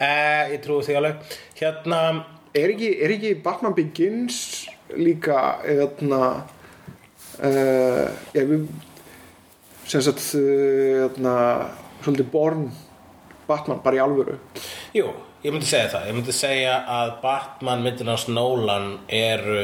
[SPEAKER 4] eh, ég trúi því alveg hérna
[SPEAKER 3] er ekki, er ekki Batman Begins líka eðna uh, já, við sem sagt eðna, svolítið Born Batman bara í alvöru
[SPEAKER 4] Jú, ég myndi segja það. Ég myndi segja að Batman myndir hans Nolan eru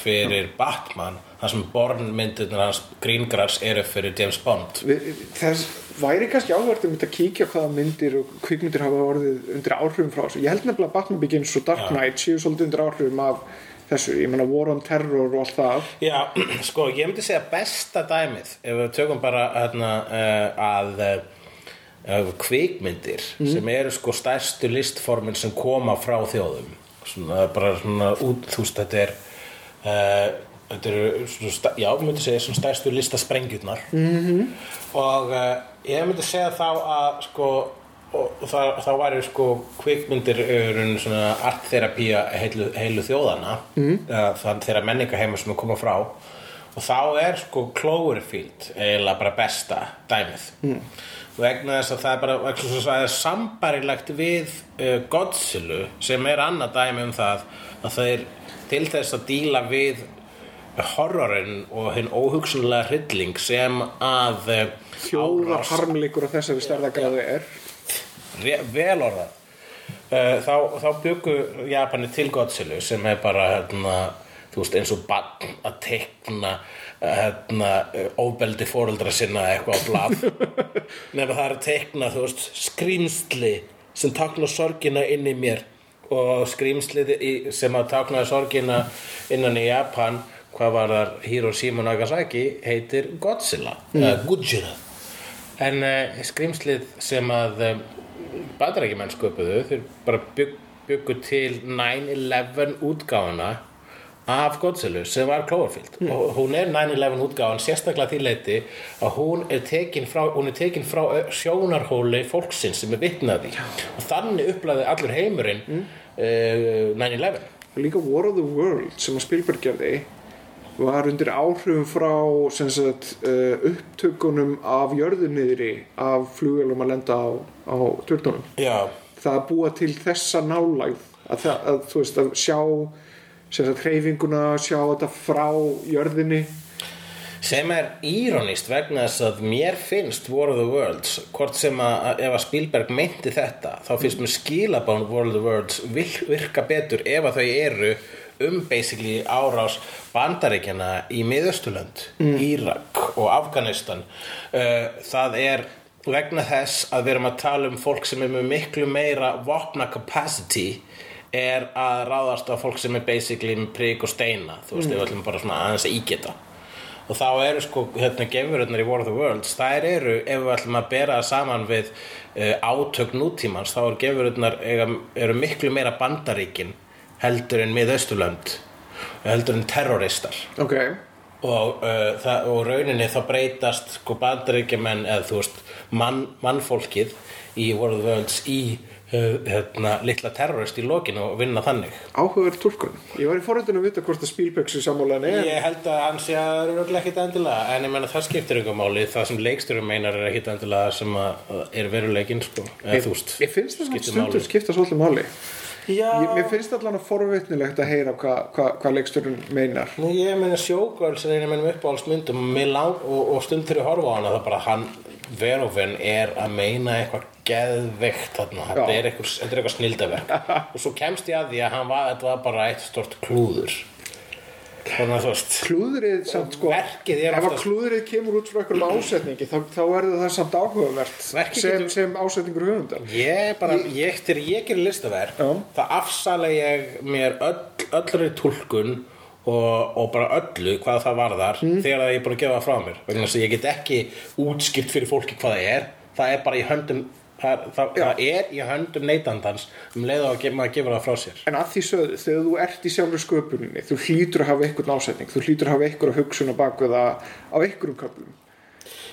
[SPEAKER 4] fyrir Batman, þar sem Born myndir hans Greengrass eru fyrir James Bond.
[SPEAKER 3] Við- Þess væri kannski áhverjum um að kíkja hvaða myndir og kvikmyndir hafa orðið undir áhrifum frá þessu. Ég held nefnilega að Batman Begins og Dark Knight séu svolítið undir áhrifum af þessu. Ég meina War on Terror og allt það.
[SPEAKER 4] Já, sko, ég myndi segja besta dæmið ef við tökum bara hérna, uh, að uh, kvikmyndir sem eru sko stærstu listformin sem koma frá þjóðum svona, bara svona út, þú veist, þetta er uh, þetta eru svona, sta- já, ég myndi segja svona stærstu listasprengjurnar -hmm. og uh, ég myndi segja þá að sko og það, þá væri sko kvikmyndir öðrun svona artterapía heilu, heilu þjóðana mm. þann þeirra menningaheimur sem er koma frá og þá er sko Cloverfield eiginlega bara besta dæmið mm. vegna þess að það er bara vegna þess að það er sambarilegt við uh, Godzilla sem er annað dæmi um það að það er til þess að díla við horrorinn og hinn óhugsanlega hrylling sem að eh,
[SPEAKER 3] Fjóra harmleikur á þessari stærðagráði er.
[SPEAKER 4] Re- vel orðað Eh, þá, þá byggu Japani til Godzilla sem er bara hérna, þú veist, eins og bann að tekna hérna, eh, ofbeldi fóreldra sinna eitthvað á blad nefnir það er að tekna þú veist, skrýmsli sem takna sorgina inn í mér og skrýmslið í- sem að taknaði sorgina innan í Japan hvað var þar Hiroshima og Nagasaki heitir Godzilla mm. Godzilla En uh, skrýmslið sem að uh, bandarækjumenn sköpuðu, þeir bara bygg, byggu til 9-11 útgáfuna af Godzilla sem var Cloverfield og hún er 9-11 útgáfan sérstaklega að því leiti að hún er tekin frá, hún er tekin frá eh, sjónarhóli fólksins sem er vitnaði og þannig upplæði allur heimurinn eh, mm. 9-11
[SPEAKER 3] Líka War of the World sem að Spielberg gerði var undir áhrifum frá sem sagt, uh, upptökunum af jörðunniðri af flugvelum að lenda á, á tvirtunum.
[SPEAKER 4] Já,
[SPEAKER 3] það að búa til þessa nálægð að, það, að þú veist að sjá sem sagt hreyfinguna, sjá þetta frá jörðinni
[SPEAKER 4] sem er íronist vegna þess að mér finnst War of the Worlds hvort sem að ef að Spielberg meinti þetta þá finnst mér skilabán War of the Worlds vil- virka betur ef að þau eru um basically árás bandaríkjana í Miðausturlönd, Írak og Afganistan uh, það er vegna þess að við erum að tala um fólk sem er með miklu meira vopna capacity er að ráðast á fólk sem er basically með prík og steina þú veist, við ætlum bara svona aðeins að ígeta og þá eru sko hérna gefururnar í War of the Worlds þær eru, ef við ætlum að bera það saman við uh, átök nútímans þá eru gefururnar eiga, eru miklu meira bandaríkin heldur en miðausturlönd heldur en terroristar
[SPEAKER 3] ok,
[SPEAKER 4] og, uh, það, og rauninni þá breytast sko bandaríkjumenn eða þú veist mann, mannfólkið í War of the Worlds í uh, hérna, litla terrorist í lokinu og vinna þannig
[SPEAKER 3] áhugaverð túlkun ég var í forröndinu að vita hvort að Spielberg sé sammála en er
[SPEAKER 4] Ég held að hann sé að það eru örugglega ekkit endilega en ég menna það skiptir ykkur máli það sem leiksturum meinar er ekkit endilega sem að að er veruleikinn sko eða þú veist
[SPEAKER 3] ég finnst það samt
[SPEAKER 4] skiptir
[SPEAKER 3] stundum
[SPEAKER 4] máli.
[SPEAKER 3] skipta svolítið máli
[SPEAKER 4] Já,
[SPEAKER 3] ég, mér finnst allan að forvitnilegt að heyra hvað hva, hva leikstjórun meinar
[SPEAKER 4] Nei, ég meina sjókvöls er einu mennum uppáhaldsmyndum og, mig lang- og, og stund þegar ég horfa á hana það bara hann, Verhoeven er að meina eitthvað geðveikt þarna þetta
[SPEAKER 3] Já.
[SPEAKER 4] er eitthvað, þetta er eitthvað snildaverk og svo kemst ég að því að hann var, þetta var bara eitt stort klúður þannig að þú veist
[SPEAKER 3] klúðrið samt sko
[SPEAKER 4] Verkið er
[SPEAKER 3] ef að
[SPEAKER 4] oftast-
[SPEAKER 3] klúðrið kemur út frá einhverjum ásetningi þá, þá er það samt áhugavert
[SPEAKER 4] Verkið
[SPEAKER 3] sem,
[SPEAKER 4] getur-
[SPEAKER 3] sem ásetningur höfundar
[SPEAKER 4] ég bara, ég, þegar ég gerir listaverk
[SPEAKER 3] Já.
[SPEAKER 4] það afsala ég mér öll, öllri túlkun og, og bara öllu hvað það varðar þegar að ég er búin að gefa það frá mér vegna þess að ég get ekki útskipt fyrir fólki hvað það er það er bara í höndum það, það, það er í höndum neytandans um leið og að ge- maður gefur það frá sér
[SPEAKER 3] En að því sögðu, þegar þú ert í sjálfur sköpuninni, þú hlýtur að hafa einhvern ásetning, þú hlýtur að hafa einhverja hugsun á bakvið að á einhverjum köflum.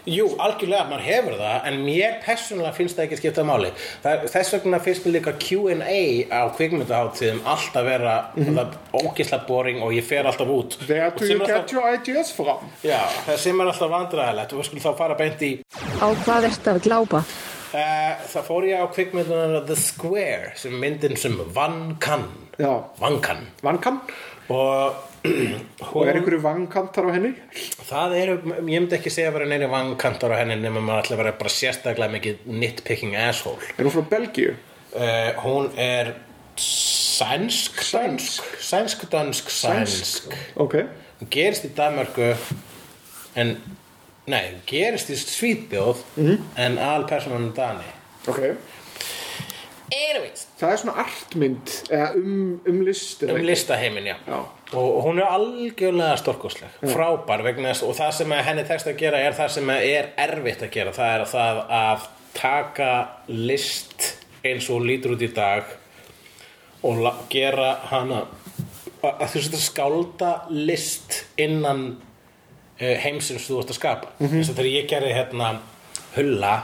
[SPEAKER 4] Jú, algjörlega, maður hefur það en mér persónulega finnst það ekki skipta máli það er, þess vegna finnst mér líka Q&A á kvikmyndaháttíðum alltaf vera
[SPEAKER 3] Mhm.
[SPEAKER 4] mm -hmm. ógislega boring og ég fer alltaf út
[SPEAKER 3] There
[SPEAKER 4] Og
[SPEAKER 3] do
[SPEAKER 4] sem
[SPEAKER 3] you
[SPEAKER 4] er alltaf-
[SPEAKER 3] get your ideas from?
[SPEAKER 4] Já, það sem er alltaf vandræðilegt og við skulum þá fara beint í
[SPEAKER 5] Á hvað ert að glápa?
[SPEAKER 4] uh, það fór ég á kvikmyndunum The Square sem myndin sem Van Kann
[SPEAKER 3] Já,
[SPEAKER 4] Van Kann
[SPEAKER 3] vankan.
[SPEAKER 4] og,
[SPEAKER 3] Og
[SPEAKER 4] hún,
[SPEAKER 3] er einhverju vankantar á henni?
[SPEAKER 4] það eru, ég myndi ekki segja að vera neina vankantar á henni nema maður ætla að vera bara sérstaklega mikið nitpicking asshole
[SPEAKER 3] Er hún frá Belgíu?
[SPEAKER 4] uh, hún er sænsk
[SPEAKER 3] Sænsk.
[SPEAKER 4] sænsk, dansk, sænsk.
[SPEAKER 3] Ok.
[SPEAKER 4] Hún gerist í Danmörku en, nei, hún gerist í Svíþjóð mm. en alpersonan er Dani
[SPEAKER 3] Ok.
[SPEAKER 4] Anyways,
[SPEAKER 3] Það er svona artmynd eða um, um list. eða
[SPEAKER 4] um
[SPEAKER 3] eitthvað.
[SPEAKER 4] listaheimin, já.
[SPEAKER 3] Já.
[SPEAKER 4] Og hún er algjörlega storkosleg, frábær vegna þess og það sem að henni tekst að gera er það sem að er erfitt að gera, það er það að taka list eins og hún lítur út í dag og la- gera hana að þú setur skálda list innan eh, heimsins þú ert að skapa mm -hmm. þegar ég gerði hérna hulla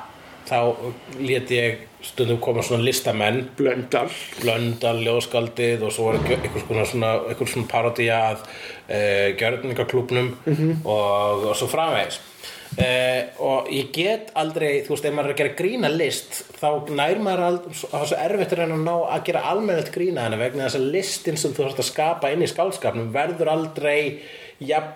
[SPEAKER 4] þá lét ég stundum koma svona listamenn
[SPEAKER 3] Blöndal.
[SPEAKER 4] blöndal ljóðskaldið og svo var einhver- einhvers konar svona, einhvers svona parodía að e, gjörningaklubnum og, og svo framvegis e, og ég get aldrei þú veist, ef maður er að gera grína list þá nær maður aldrei, það er svo erfitt að reyna að ná að gera almennilegt grína hana vegna þess að listin sem þú þarfst að skapa inn í skálskapnum verður aldrei jafn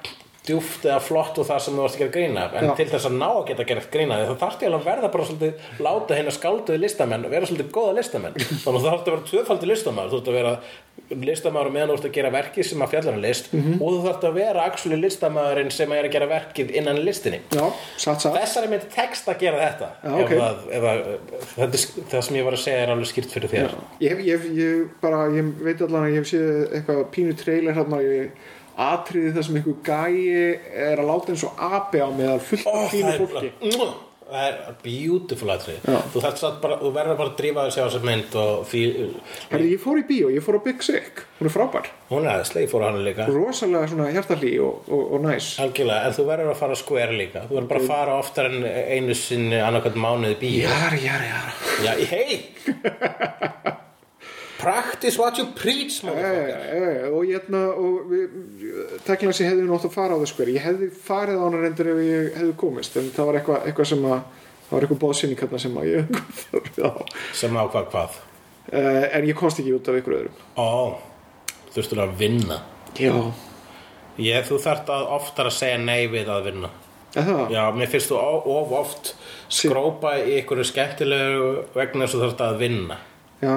[SPEAKER 4] djúft eða flott og það sem þú varst að gera grína en
[SPEAKER 3] Já.
[SPEAKER 4] til þess að ná að geta að gera grína þá þarfti alveg að verða bara svolítið láta hérna skálduði listamenn og vera svolítið góða listamenn þannig að þú þarfti að vera tvöfaldi listamenn þú þarfti að vera listamenn meðan þú ert að gera verkið sem að fjallar um list
[SPEAKER 3] Mhm.
[SPEAKER 4] og þú þarfti að vera actually listamæðurinn sem er að gera verkið innan listinni
[SPEAKER 3] Já, satt satt.
[SPEAKER 4] þessari mynd tekst að gera þetta
[SPEAKER 3] Já, ok.
[SPEAKER 4] ef það, ef það, það, það sem ég var að segja er alveg skýrt fyrir þér
[SPEAKER 3] Ég, hef- ég, hef- ég, bara, ég veit allan að ég hef séð eitthvað pínu trailer hérna í atriði þar sem einhver gæi er að láta eins og api á meðal fullt
[SPEAKER 4] Ó,
[SPEAKER 3] af fínu
[SPEAKER 4] það er
[SPEAKER 3] fólki
[SPEAKER 4] bara- mm, Það er beautiful atrið
[SPEAKER 3] Já.
[SPEAKER 4] Þú, þarft samt bara- þú verður bara að drífa þessi á þessa mynd og því,
[SPEAKER 3] Herri, ég fór í bíó, ég fór á Big Sick hún er frábær,
[SPEAKER 4] hún er aðeins leið fór hann líka
[SPEAKER 3] rosalega svona hjartalí og, og, og næs
[SPEAKER 4] Algjörlega, en þú verður að fara að square líka Þú verður bara að fara oftar en einu sinni annarkvæmt mánuði í bíó
[SPEAKER 3] Jari, jari, jari
[SPEAKER 4] Já, hei Practice what you preach motherfucker.
[SPEAKER 3] Eh, og ég hefna og teklansi hefði nátt að fara á það skveri ég hefði farið á hana reyndur ef ég hefði komist en það var eitthvað eitthva sem að það var eitthvað bóðsynning hérna sem að ég uh,
[SPEAKER 4] Sem á hvað hvað
[SPEAKER 3] Eh, en ég komst ekki út af ykkur öðrum
[SPEAKER 4] Ó, þurftur að vinna
[SPEAKER 3] já
[SPEAKER 4] Ég, þú þarft að oftar að segja nei við að vinna.
[SPEAKER 3] Er það?
[SPEAKER 4] Já, mér finnst þú o- of oft skrópa í einhverju skemmtilegu vegna þess að þú þarft að vinna.
[SPEAKER 3] Já.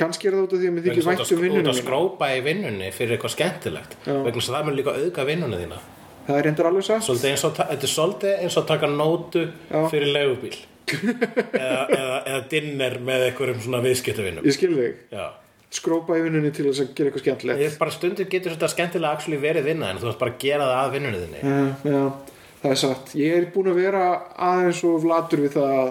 [SPEAKER 3] Kannski er það út af því að mér
[SPEAKER 4] Vegna
[SPEAKER 3] þykir
[SPEAKER 4] þess að
[SPEAKER 3] vænt um
[SPEAKER 4] þú ert að- þú ert
[SPEAKER 3] vinnunum
[SPEAKER 4] að skrópa í vinnunni fyrir eitthvað skemmtilegt.
[SPEAKER 3] Já.
[SPEAKER 4] Vegna þess að það mun líka auðga vinnunni þína.
[SPEAKER 3] Það er reyndar alveg satt.
[SPEAKER 4] Svolítið eins og, ta- þetta er svolítið eins og að taka nótu
[SPEAKER 3] Já.
[SPEAKER 4] fyrir legubíl. eða, eða, eða dinner með einhverjum svona viðskiptavinnum.
[SPEAKER 3] Ég skil þig.
[SPEAKER 4] Já.
[SPEAKER 3] Skrópa í vinnunni til þess að gera eitthvað skemmtilegt.
[SPEAKER 4] Ég er bara stundir getur þetta skemmtilega actually verið vinna en þú ætti bara að gera það að vinnunni þinni
[SPEAKER 3] Já, já, það er satt. Ég er búin að vera aðeins og vlatur við það að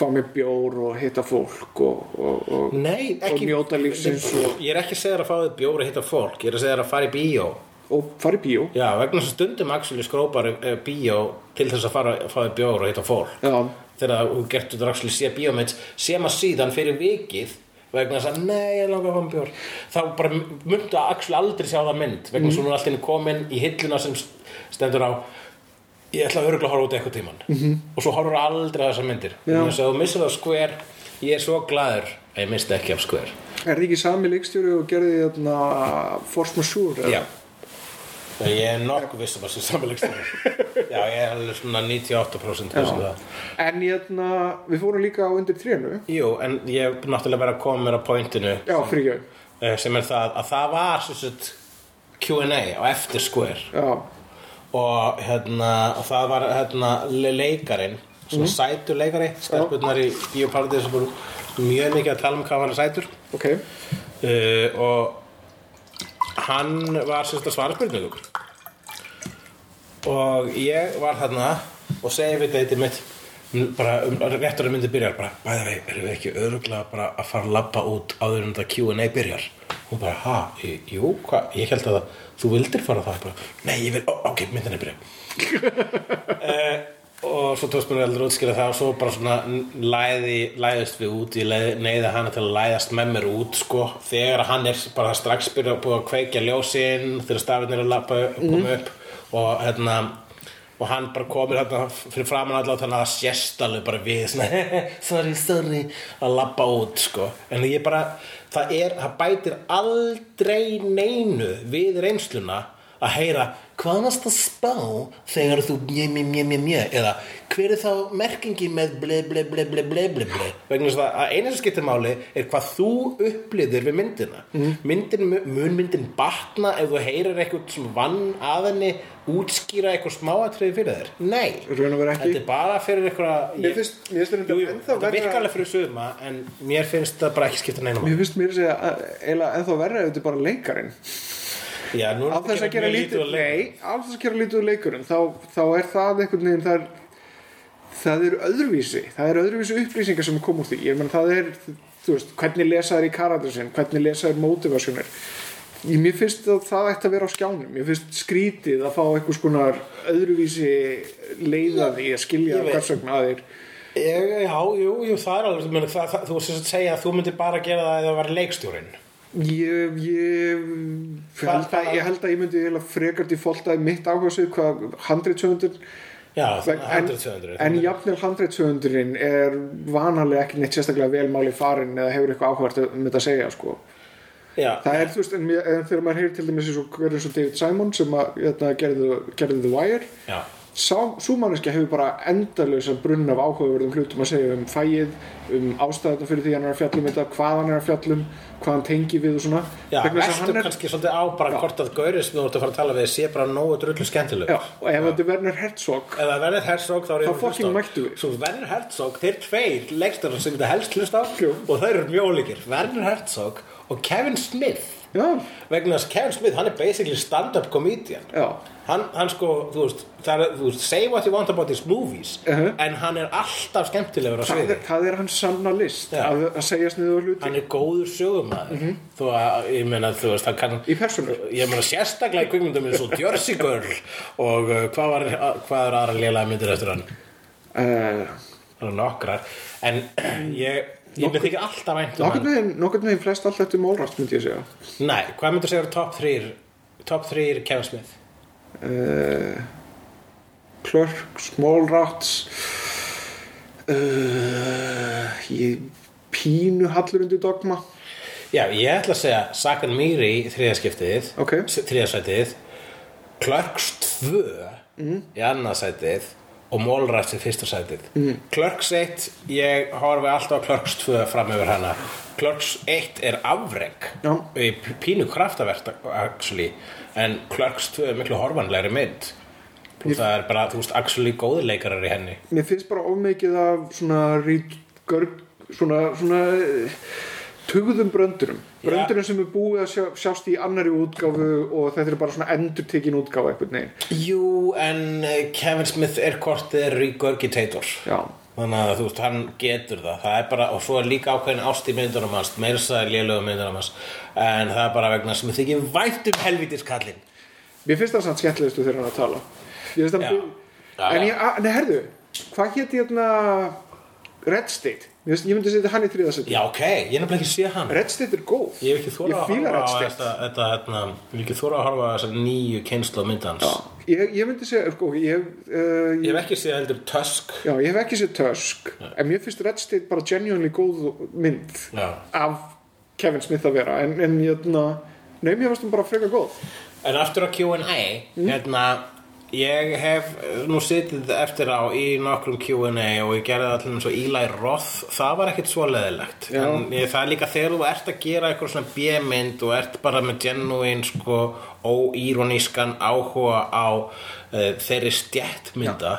[SPEAKER 3] fá mér bjór og hitta fólk og, og, og
[SPEAKER 4] Nei, ekki
[SPEAKER 3] Og njóta lífsins og-
[SPEAKER 4] Ég er ekki að segja þér að fá þér bjóri að hitta fólk Ég er að segja þér að fara í bíó
[SPEAKER 3] og fara í bíó.
[SPEAKER 4] Já, vegna þess að stundum actually skrópar eh, bíó til þess að fara að fá þér bjóri og hitta fólk
[SPEAKER 3] Já,
[SPEAKER 4] Þegar þú getur þetta actually sé bíómynd sem að síðan fyrir vikið vegna þess að nei, ég langa að fá mér bjór þá bara myndu að actually aldrei sjá það mynd vegna þess að hún er allir komin í hilluna sem stendur á ég ætla að örgulega að horfa út eitthvað tíman -hmm. og svo horfur aldrei að þessar myndir þess að þú missir það skver ég er svo glaður að ég misti ekki af skver
[SPEAKER 3] er þið ekki sami leikstjóri og gerði þarna Force Majeure?
[SPEAKER 4] já Nei, ég er nokkuð vissum að sem samfélagsstæður já, ég er alveg svona 98% viss um það.
[SPEAKER 3] En hérna, við fórum líka á undir trénu.
[SPEAKER 4] jú, en ég er náttúrulega bara að koma mér á pointinu
[SPEAKER 3] Já, fyrir ég.
[SPEAKER 4] eh, sem er það að það var sem sagt, Q&A á eftir skver
[SPEAKER 3] Já,
[SPEAKER 4] og hérna, og það var hérna, le- leikarin svona sætur leikari, stelpunnar í bíópartið sem voru mjög mikið að tala um hvað hann er sætur
[SPEAKER 3] ok.
[SPEAKER 4] uh, og hann var sérst að svara spurningum og ég var þarna og segi við deytið mitt m- bara um, réttur að myndi byrjar bara, bæða vei, erum við ekki öruglega bara að fara að labba út áður en þetta Q&A byrjar og bara, ha, í- jú, hvað, ég held að það, þú vildir fara það bara, nei, ég vil, ó, ok, myndin er byrjað og svo tókst mér aldrei að útskýra það og svo bara svona læði, læðist við út ég leið, neyði hana til að læðast með mér út sko, þegar hann er bara strax byrjað að búið að kveikja ljósin þegar stafinn er að lappa koma upp og hérna og hann bara komir hérna fyrir framan allat þannig að það sést alveg bara við svona, sorry, sorry, að lappa út sko, en ég bara það er, það bætir aldrei neinu við reynsluna að heyra hvað varst að spá þegar þú mjö, mjö, mjö, mjö, mjö eða hver er þá merkingin með ble, ble, ble, ble, ble, ble, ble vegna þess að- að eina sem skiptir máli er hvað þú upplýðir við myndina
[SPEAKER 3] Mhm.
[SPEAKER 4] myndin, mun myndin batna ef þú heyrir eitthvað sem vann að henni útskýra eitthvað smáatriði fyrir þér nei,
[SPEAKER 3] Raun og veru ekki.
[SPEAKER 4] þetta er bara fyrir eitthvað
[SPEAKER 3] Mér finnst- mér finnst þetta ennþá
[SPEAKER 4] þetta
[SPEAKER 3] verra-
[SPEAKER 4] virkar alveg fyrir sögma en mér finnst það bara ekki skipta neina máli
[SPEAKER 3] Mér finnst mér að segja, að- eiginlega ennþá verra ef þetta er bara leikarinn.
[SPEAKER 4] já, nú
[SPEAKER 3] Af
[SPEAKER 4] er
[SPEAKER 3] þess að gera
[SPEAKER 4] mjög
[SPEAKER 3] lítið,
[SPEAKER 4] úr leik.
[SPEAKER 3] nei, af þess að gera lítið úr leikurinn, þá, þá er það einhvern veginn, það er, það er öðruvísi, það er öðruvísi upplýsingar sem kom úr því, ég menn það er, þú veist, hvernig lesa þær í karakter sinn, hvernig lesa þær motivasjónir, ég, mér finnst að það ætti að vera á skjánum, mér finnst skrítið að fá einhvers konar öðruvísi leiðaði að skilja
[SPEAKER 4] Ég veit.
[SPEAKER 3] hvers vegna að þeir,
[SPEAKER 4] Já, já, jú, jú, það er alveg meni, það, það, þú sérst að segja að þú myndir bara gera það eða var leikstjórinn
[SPEAKER 3] Ég, ég,
[SPEAKER 4] Hvað-
[SPEAKER 3] held að, ég held að ég myndi eiginlega frekar til fóltaði mitt áherslu hvað handriðsöndur
[SPEAKER 4] Já,
[SPEAKER 3] Veg- en-
[SPEAKER 4] 100-200
[SPEAKER 3] En jafnvel 100-200 er vanalega ekki neitt sérstaklega vel máli farin eða hefur eitthvað áhvert um þetta að segja sko.
[SPEAKER 4] já,
[SPEAKER 3] Það er, þú veist, en, mér- en þegar maður heyrir til dæmis eins og hverjum svo David Simon sem að, hérna, gerði, gerði The Wire
[SPEAKER 4] já,
[SPEAKER 3] sá, svo manneskja hefur bara endalösa brunn af áhugaverðum hlutum að segja um fæið, um ástæðuna fyrir því hann er að fjallum þetta, hvað hann er að fjallum hvað hann tengi við og svona
[SPEAKER 4] já
[SPEAKER 3] Vegna þess að
[SPEAKER 4] Ertu
[SPEAKER 3] hann er-
[SPEAKER 4] kannski svolítið á bara hvort að gaurið sem þú ert að fara að tala við sé bara nógu drullu skemmtileg
[SPEAKER 3] Já, og ef þetta er Werner Herzog
[SPEAKER 4] Ef það verður Herzog þá er
[SPEAKER 3] Þá fucking mættu við.
[SPEAKER 4] Svo verður Herzog, þeir tveir leikstjórnar sem þetta helst hlust á
[SPEAKER 3] Jú.
[SPEAKER 4] og þeir eru mjög ólíkir Verður Herzog og Kevin Smith
[SPEAKER 3] Já,
[SPEAKER 4] vegna þess að Kevin Smith, hann er basically stand-up comedian
[SPEAKER 3] Já.
[SPEAKER 4] hann, hann sko, þú veist, það er, þú veist say what you want about these movies
[SPEAKER 3] Mhm.
[SPEAKER 4] en hann er alltaf skemmtilegur á
[SPEAKER 3] það
[SPEAKER 4] sviði
[SPEAKER 3] er, það er hans sanna list
[SPEAKER 4] Já.
[SPEAKER 3] að, að segja sniðu hluti
[SPEAKER 4] hann er góður sögumæður þó að, ég meina, þú veist, hann kann
[SPEAKER 3] Mhm. Í persónu.
[SPEAKER 4] ég meina, sérstaklega í kvikmyndum eins og Jersey Girl og uh, hvað, var, hvað er aðra lélega myndir eftir hann
[SPEAKER 3] uh,
[SPEAKER 4] það er nokkrar en ég, ég myndi ekki alltaf vænt um hann
[SPEAKER 3] Nokkurn veginn, nokkurn veginn flest allt eftir mólrast myndi ég segja
[SPEAKER 4] nei, hvað myndir segja eru top 3 top 3 Kevin Smith
[SPEAKER 3] uh, Clerks, Mólrats uh, ég pínu hallur undir dogma
[SPEAKER 4] Já, ég ætla að segja Sagan Mýri í þriðaskiptið
[SPEAKER 3] Ok.
[SPEAKER 4] þriðasætið Clerks 2 í annarsætið og Mallrats í fyrsta sætið mm. Clerks 1, ég horfi alltaf á Clerks 2 fram yfir hana Clerks 1 er afreg
[SPEAKER 3] Já.
[SPEAKER 4] í p- pínu kraftavert actually, en Clerks 2 er miklu horfanlegri mynd og það er bara, þú veist, actually góðleikarar í henni
[SPEAKER 3] Mér finnst bara ofmikið af svona rít, görg, svona, svona eh, tugðum bröndurum bröndurum sem er búið að sjá, sjást í annari útgáfu og þetta er bara svona endurtekin útgáfa einhvern veginn
[SPEAKER 4] Jú, en eh, Kevin Smith er kortið regurgitator
[SPEAKER 3] Já.
[SPEAKER 4] Þannig að þú veist, hann getur það Það er bara, og svo er líka ákveðin ást í myndunum hans meira þess að lélögu myndunum hans En það er bara vegna sem þykir vænt um helvítis kallinn
[SPEAKER 3] Mér finnst það samt skemmtilegustu þegar hann er að tala Ég finnst
[SPEAKER 4] Já.
[SPEAKER 3] það
[SPEAKER 4] Já,
[SPEAKER 3] En
[SPEAKER 4] já.
[SPEAKER 3] ég, að- nei, herðu, hvað héti hérna Red State? Mér finnst, ég myndi setja hann í þriðasetti
[SPEAKER 4] Já, ok, ég er nefnilega ekki séð hann
[SPEAKER 3] Red State er góð
[SPEAKER 4] Ég hef ekki þóra að
[SPEAKER 3] fíla
[SPEAKER 4] horfa
[SPEAKER 3] Red
[SPEAKER 4] á
[SPEAKER 3] State
[SPEAKER 4] þetta, þetta, þetta Ég hef ekki þóra að horfa á þessar nýju kynslu á myndans já.
[SPEAKER 3] ég, ég myndi segja, sko, ég, uh,
[SPEAKER 4] Ég hef ekki séð heldur Tusk
[SPEAKER 3] Já, ég hef ekki sér Tusk en mér finnst Red State bara genuinely góð mynd
[SPEAKER 4] Já.
[SPEAKER 3] af Kevin Smith að vera en, en ég Nei, mér finnst hún bara freka góð
[SPEAKER 4] En aftur á Q&A hérna, ég hef eh, nú sitið eftir á í nokkrum Q&A og ég gerði allir eins og Eli Roth, það var ekkit svo leðilegt
[SPEAKER 3] Já.
[SPEAKER 4] en ég, það er líka þegar þú ert að gera eitthvað svona bjömynd og ert bara með genuine sko óíronískan áhuga á uh, þeirri stjættmynda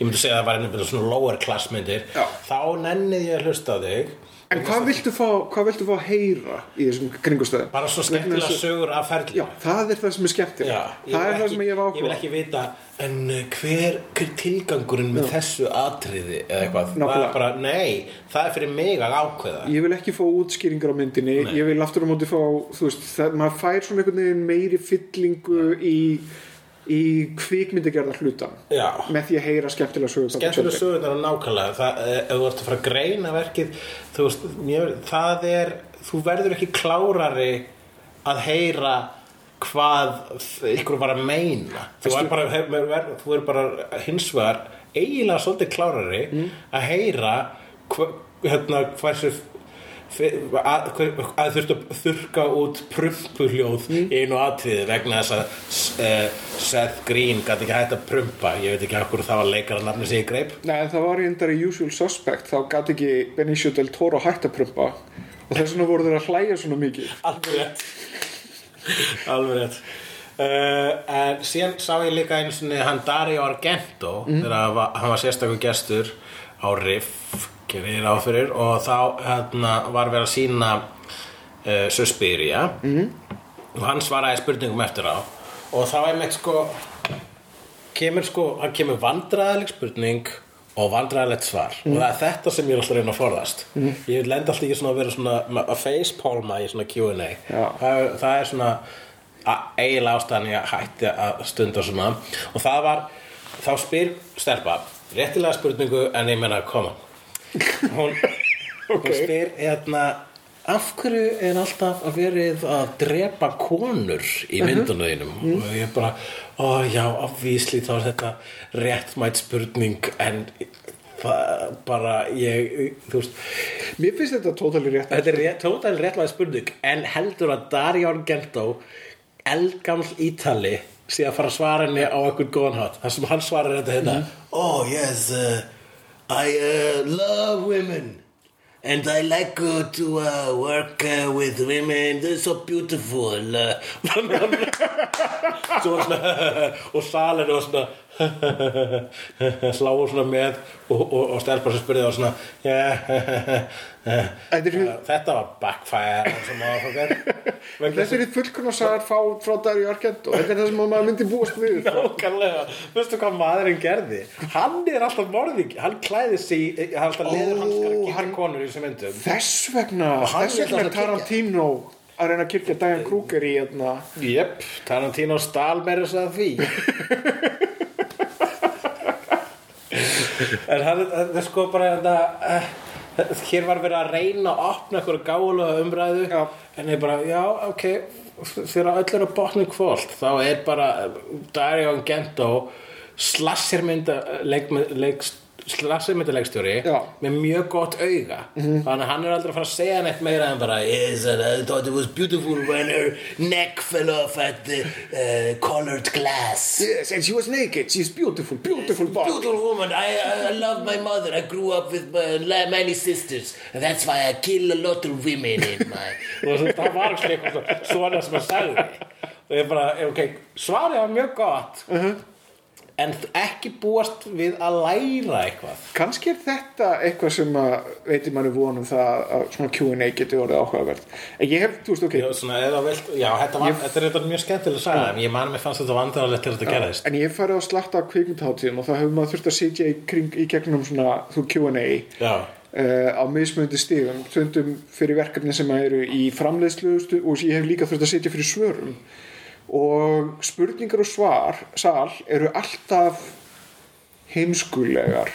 [SPEAKER 4] ég myndi segja að það var einhvern veginn svona lower class myndir
[SPEAKER 3] Já.
[SPEAKER 4] þá nennið ég að hlusta á þig
[SPEAKER 3] En hvað viltu, fá, hvað viltu fá að heyra í þessum kringustöðum?
[SPEAKER 4] bara svo
[SPEAKER 3] Vegna
[SPEAKER 4] skemmtilega
[SPEAKER 3] þess að-
[SPEAKER 4] sögur af ferlinu
[SPEAKER 3] Já, það er það sem er skemmtilega
[SPEAKER 4] Já, ég
[SPEAKER 3] Það
[SPEAKER 4] vil
[SPEAKER 3] er það
[SPEAKER 4] ekki-
[SPEAKER 3] sem ég hef
[SPEAKER 4] Ég vil
[SPEAKER 3] áhuga
[SPEAKER 4] ekki vita, en uh, hver, hver tilgangurinn með þessu atriði eða eitthvað, það
[SPEAKER 3] Nákvæmlega.
[SPEAKER 4] er bara, nei það er fyrir mig að ákveða
[SPEAKER 3] Ég vil ekki fá útskýringar á myndinni Ég vil aftur á móti fá, þú veist það, maður fær svona einhvern veginn meiri fyllingu í, í kvikmyndagerðar hlutan
[SPEAKER 4] Já.
[SPEAKER 3] með því að heyra skemmtilega sögur frá
[SPEAKER 4] skemmtilega
[SPEAKER 3] Kevin.
[SPEAKER 4] sögurnar og nákvæmlega það, eh, ef þú ert að fara að greina verkið þú veist, mér, það er þú verður ekki klárari að heyra hvað þ- ykkur var að meina þú er bara, hef, ver, þú er bara hins vegar eiginlega svolítið klárari að heyra hva, hérna, hversu fi- að, hver- að þurftu að þurka út prumpuhljóð í einu atriði vegna þess að s- eh, Seth Green gæti ekki hægt að prumpa ég veit ekki af hverju það var leikara nafni sig í greip
[SPEAKER 3] Nei, það var reyndar í Usual Suspect þá gæti ekki Benicio del Toro hægt að prumpa og þess vegna voru þeir að hlæja svona mikið
[SPEAKER 4] alveg rétt alveg rétt Uh, en síðan sá ég líka einu sinni hann Dario Argento þegar hann var, hann var sérstakur gestur á Riff gerði ég ráð fyrir og þá hérna, var verið að sína uh, Suspiria mm. og hann svaraði spurningum eftir á og þá er meitt sko kemur sko, hann kemur vandræðaleg spurning og vandræðalegt svar og það er þetta sem ég er alltaf að reyna að forðast ég vil lenda alltaf ekki svona að vera svona að facepalma í svona Q&A
[SPEAKER 3] Já.
[SPEAKER 4] það, er- það er svona a- eiginlega ástæðan ég hætti að stunda svona og það var, þá spyr stelpa réttilega spurningu en ég meina koma hún, hún spyr hérna af hverju er alltaf að verið að drepa konur í myndunum þínum og ég bara, ó já, afvísli þá er þetta réttmætt spurning en það bara ég, þú veist
[SPEAKER 3] Mér finnst þetta tótali rétt
[SPEAKER 4] þetta er rétt, tótal réttmætt spurning en heldur að Dario Argento eldgaml ítali sé að fara að svara henni á einhvern góðan hátt þar sem hann svarar þetta hérna oh yes uh, I uh, love women and I like uh, to uh, work uh, with women they're so beautiful uh, svo var svona og salinu var svona sláu svona með og, og, og stelpa sem spurði var svona yeah,
[SPEAKER 3] Þetta er-
[SPEAKER 4] þetta var backfire sem var svo gæt
[SPEAKER 3] Þetta er fullkona sagar fá frá Dario Argento Þetta er það sem maður myndi búast við
[SPEAKER 4] Nákvæmlega, veistu hvað maðurinn gerði? Hann er alltaf morðing, hann klæði sig, í- hann er alltaf leður hanskar að geta konur í þessum myndum
[SPEAKER 3] Þess vegna,
[SPEAKER 4] hann
[SPEAKER 3] þess
[SPEAKER 4] vill
[SPEAKER 3] vegna er
[SPEAKER 4] alltaf
[SPEAKER 3] Tarantino að reyna að kirkja Diane Kruger í hérna
[SPEAKER 4] Jöp, Tarantino stál meira þess að því En hann, það er sko bara þetta eh, Hér var verið að reyna að opna eitthvað gálega umræðu
[SPEAKER 3] Já.
[SPEAKER 4] En ég bara, já, ok Þegar öll er að botna kvöld Þá er bara eh, Dario Gento Slassirmynda leik, leik, slagsveimindaleikstjóri
[SPEAKER 3] Já.
[SPEAKER 4] með mjög gott auga þannig að hann er aldrei að fara að segja neitt meira en bara yes, and I thought it was beautiful when her neck fell off at the uh, colored glass
[SPEAKER 3] Yes, and she was naked, she's beautiful, beautiful body
[SPEAKER 4] Beautiful woman, I, I- I love my mother I grew up with my, la- many sisters and that's why I kill a lot of women in my og þú veist, það var ekki eitthvað svona sem að sagði og ég bara, eh, ok, svarið var mjög gott en ekki búast við að læra eitthvað
[SPEAKER 3] Kanski er þetta eitthvað sem að veitir manni vonum það að svona Q&A geti orðið áhugavert En ég hef, þú veist, ok,
[SPEAKER 4] Já, svona, eða vilt, já, þetta, var, þetta er þetta mjög skemmtileg saga, en ég man mér fannst þetta vandrarlegt til þetta gerðist.
[SPEAKER 3] en ég hef farið á slatta á kvikmyndhátíðum og það hefur maður þurft að sitja í, kring, í gegnum svona þú Q&A
[SPEAKER 4] Já,
[SPEAKER 3] uh, á mismunandi stigum stundum fyrir verkefni sem eru í framleiðslu stu- og ég hef líka þurft að setja fyrir svörum og spurningar og svar sal eru alltaf heimskulegar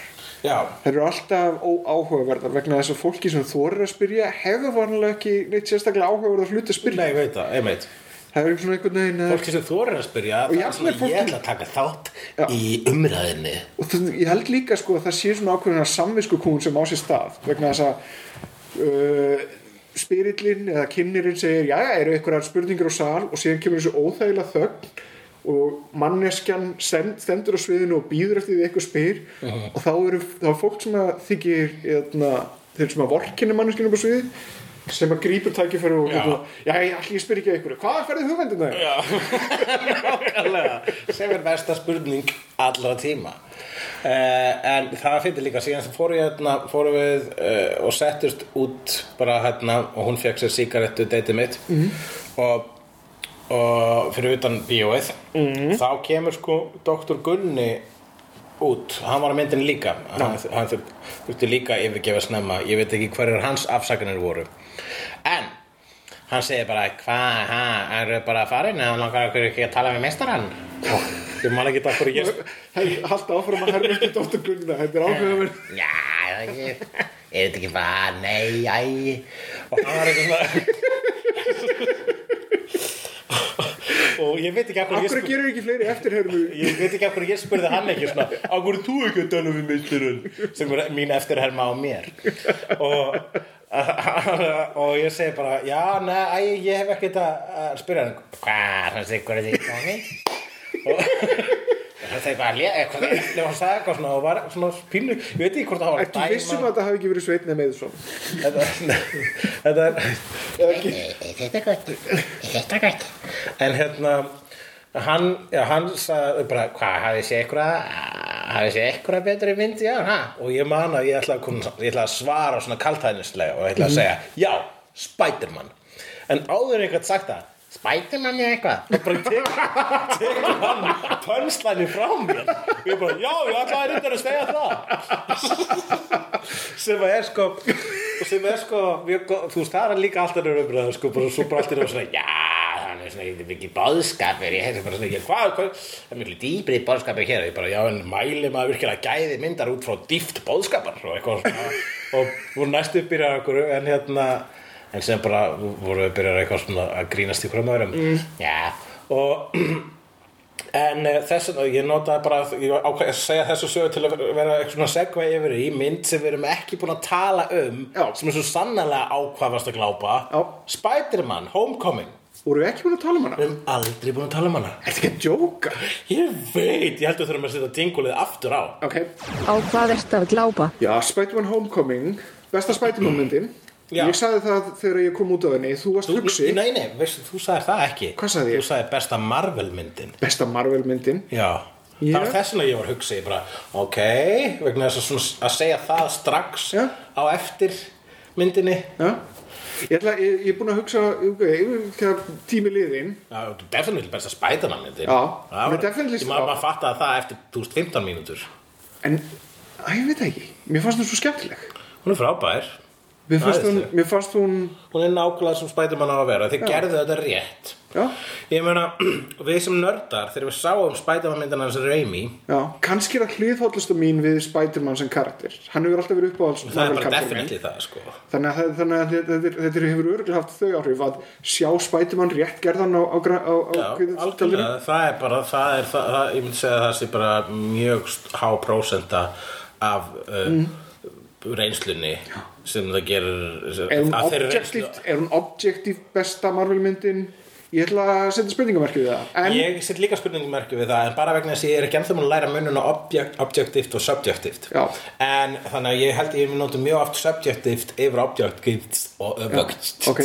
[SPEAKER 4] já,
[SPEAKER 3] þær eru alltaf óáhugaverðar vegna þess að fólki sem þorir að spyrja hefur vanlega ekki neitt sérstaklega áhugaverðar hluti að spyrja
[SPEAKER 4] nei, ég veit það, einmitt.
[SPEAKER 3] það eru svona einhvern veginn eh,
[SPEAKER 4] Fólki sem þú eru að spyrja,
[SPEAKER 3] Og
[SPEAKER 4] það er
[SPEAKER 3] jafnvel
[SPEAKER 4] svona,
[SPEAKER 3] fólki-
[SPEAKER 4] ég ætla að taka þátt
[SPEAKER 3] Já.
[SPEAKER 4] í umræðinni.
[SPEAKER 3] og það, ég held líka sko að það sé svona ákveðina samviskukún sem á sér stað vegna þess að uh, spirillin eða kynirinn segir jæja, eru einhverjar spurningar á sal og síðan kemur þessu óþægilega þögn og manneskjan send, stendur á sviðinu og býður eftir því eitthvað spyr og þá eru þá er fólk sem að þykir eðna, þeir sem að vorkinni manneskinu upp á sviði sem að grípur tækifæri og
[SPEAKER 4] Já.
[SPEAKER 3] hérna, jæja, allir ég spyr ekki að ykkur hvað færði hugmyndina þér?
[SPEAKER 4] Nákvæmlega, sem er besta spurning allra tíma uh, en það fyrir líka síðan sem fóru, ég hérna, fóru við uh, og settust út bara hérna og hún fekk sér sígarettu deytið mitt
[SPEAKER 3] Mhm.
[SPEAKER 4] og, og fyrir utan bíóið
[SPEAKER 3] Mhm.
[SPEAKER 4] þá kemur sko doktor Gunni út, hann var að myndin líka hann, hann þur- þurfti líka að yfirgefa snemma ég veit ekki hverjar hans afsakanir voru en hann segir bara hvað, hann er bara farin eða langar okkur ekki að tala við meistarann ég man ekki það fyrir ég
[SPEAKER 3] Hey, halda áfram að herra eftir dóttur Gunna þetta er áhugaverð
[SPEAKER 4] já, ég veit ekki er þetta ekki bara, nei, æ og hann var eitthvað svona og ég veit ekki af hverju ég
[SPEAKER 3] Akkur
[SPEAKER 4] spurði
[SPEAKER 3] gerur ekki fleiri eftirhermu
[SPEAKER 4] ég veit ekki af hverju ég spurði hann ekki svona af hverju þú ekki að tala við meisturinn sem er mín eftirherma á mér og og ég segi bara já, nei, æ, ég hef ekkert að að spyrja hann hvað, hann segi hvað er því gangi og hann segi bara lé- eitthvað, þegar hann sagði eitthvað svona og var svona pínu, ég veit ekki hvort það var að
[SPEAKER 3] Ertu vissum að þetta hafi ekki verið Sveitna Meðsson?
[SPEAKER 4] þetta, þetta er
[SPEAKER 6] Þetta er gott. Þetta er gott.
[SPEAKER 4] en hérna hann, já, hann sagði bara hvað, hafið sé eitthvað hafið sé eitthvað betri mynd já, ha? og ég man að ég ætla að, koma, ég ætla að svara svona kaltæðnislega og
[SPEAKER 6] Mhm.
[SPEAKER 4] ég ætla að segja já, Spiderman en áður en ég gætt sagt það
[SPEAKER 6] Spiderman er eitthvað.
[SPEAKER 4] og bara tekur tekur hann pönslæni frá mér og ég bara, já, ég ætlaði reyndar að segja það sem að er sko sem er sko, mjög gott- þú veist, það er líka alltaf nörður umræða, sko, bara svo bara alltaf svona, já,
[SPEAKER 6] Það er svona eitthvað mikið bóðskapur.
[SPEAKER 4] ég hefði bara svona, ég, hvað, hvað, það er miklu dýbrið bóðskapur hér, ég bara, já, en mæli maður virkilega gæði myndar út frá dýft bóðskapar og eitthvað svona, og voru næstu byrjar okkur, en hérna, en sem bara voru við byrjar eitthvað svona að grínast í hverjum öðrum,
[SPEAKER 3] Mm.
[SPEAKER 4] já, og, en uh, þess vegna, ég notaði bara, ég ákveði að segja þessu sögu til að vera eitthvað svona segva yfir í mynd sem við erum ekki búin að tala um,
[SPEAKER 3] Já.
[SPEAKER 4] sem er svo sannlega ákvafast að glápa,
[SPEAKER 3] Já.
[SPEAKER 4] Spider-Man, Homecoming,
[SPEAKER 3] Voru við ekki búin að tala um hana?
[SPEAKER 4] við erum aldrei búin að tala um hana.
[SPEAKER 3] Ertu ekki að djóka?
[SPEAKER 4] Ég veit, ég held að þurfum að setja dingulið aftur á
[SPEAKER 3] Ok,
[SPEAKER 5] Á hvað ertu að glápa?
[SPEAKER 3] já, Spiderman Homecoming Besta Spiderman myndin
[SPEAKER 4] Já.
[SPEAKER 3] Ég sagði það þegar ég kom út af henni Þú varst hugsi
[SPEAKER 4] Nei, nei, veistu, þú sagðir það ekki
[SPEAKER 3] Hvað sagði ég?
[SPEAKER 4] Þú sagðir besta Marvel myndin
[SPEAKER 3] Besta Marvel myndin
[SPEAKER 4] Já
[SPEAKER 3] Já.
[SPEAKER 4] Það var þess vegna ég var hugsi, ég bara, ok, vegna þess að, svona, að segja það strax
[SPEAKER 3] Já.
[SPEAKER 4] á eftir myndinni.
[SPEAKER 3] Já Ég, ætla, ég, ég er búin að hugsa okay, þegar tími liðin
[SPEAKER 4] Já, þú definitely besta spætana myndin.
[SPEAKER 3] Já,
[SPEAKER 4] það
[SPEAKER 3] mér
[SPEAKER 4] var,
[SPEAKER 3] definitely-
[SPEAKER 4] Ég maður bara fattaði það eftir, þú veist, 15 mínútur.
[SPEAKER 3] en að ég veit það ekki, mér fannst hún svo skemmtileg
[SPEAKER 4] Hún er frábær,
[SPEAKER 3] mér fannst, hún,
[SPEAKER 4] Æðisleg.
[SPEAKER 3] mér fannst hún
[SPEAKER 4] hún er nákvæmlega sem Spiderman á að vera, þið gerðu þetta rétt.
[SPEAKER 3] já,
[SPEAKER 4] Ég meina, við sem nördar, þegar við sáum Spiderman myndina hans Raimi,
[SPEAKER 3] já, kannski er að hliðhóllasta mín við Spiderman sem karakter hann hefur alltaf verið uppáhalds
[SPEAKER 4] það er
[SPEAKER 3] Marvel eh?
[SPEAKER 4] bara
[SPEAKER 3] karakterinn minn.
[SPEAKER 4] definitely það sko
[SPEAKER 3] Þannig að, það- þannig að þetta, þetta, þetta hefur örgulega haft þau áhrif að sjá spætumann rétt gerðan á, á, gra- á, á
[SPEAKER 4] Já,
[SPEAKER 3] kviðið-
[SPEAKER 4] algjörlega, það er bara það er, það, það, ég myndi segja að það sé bara mjög st- há prósenta af uh, reynslunni sem það gerir
[SPEAKER 3] er hún
[SPEAKER 4] af þeirri reynslu-
[SPEAKER 3] objektivt er hún objektivt besta Marvel myndin ég ætla að setja spurningamarkið við það en
[SPEAKER 4] Ég set líka spurningmerki við það en bara vegna þess að ég er ekki ennþá múin að læra mununa object, objektivt og subjektivt
[SPEAKER 3] Já.
[SPEAKER 4] en þannig að ég held að ég mun nota mjög oft subjektivt yfir objektivt og öfugt
[SPEAKER 3] ok.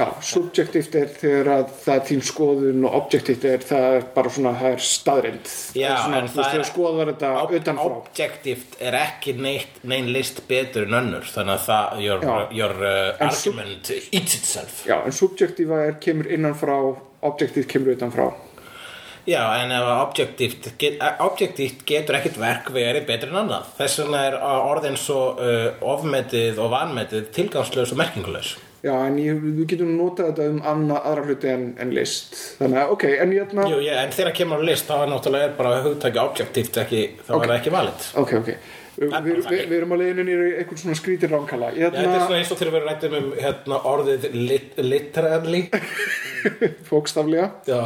[SPEAKER 3] já, subjektivt er þegar að það er þín skoðun og objektivt er það er bara svona það er staðrind
[SPEAKER 4] Já,
[SPEAKER 3] svona, þú
[SPEAKER 4] en
[SPEAKER 3] veist
[SPEAKER 4] það er-
[SPEAKER 3] þegar skoðar þetta
[SPEAKER 4] Ob-
[SPEAKER 3] utanfrá
[SPEAKER 4] Objektivt er ekki neitt, nein list betur en önnur þannig að það, your,
[SPEAKER 3] Já.
[SPEAKER 4] your uh,
[SPEAKER 3] En sub-
[SPEAKER 4] argument eats itself
[SPEAKER 3] já, en subjektiva er kemur innanfrá objektivt kemur utanfrá
[SPEAKER 4] Já, en ef að objektivt, get, objektivt getur ekkert verk verið betur en annað þess vegna er orðin svo uh, ofmetið og vanmetið tilgangslaus og merkingulegs
[SPEAKER 3] já, en ég, við getum notað þetta um anna, aðra hluti en, en list þannig að, ok, en hérna- ég ætla
[SPEAKER 4] Jú, já, en þegar kemur á list þá er náttúrulega bara hugtæki objektíft ekki, þá er það ekki valið.
[SPEAKER 3] ok, ok við
[SPEAKER 4] bara
[SPEAKER 3] vi, vi,
[SPEAKER 4] þannig.
[SPEAKER 3] vi erum að leiðinu nýri einhvern svona skrítir ránkala Hérna, ég
[SPEAKER 4] Þetta er svona
[SPEAKER 3] ætla,
[SPEAKER 4] eins og þegar við rættum um hérna, orðið lit literally.
[SPEAKER 3] fókstaflega
[SPEAKER 4] Já.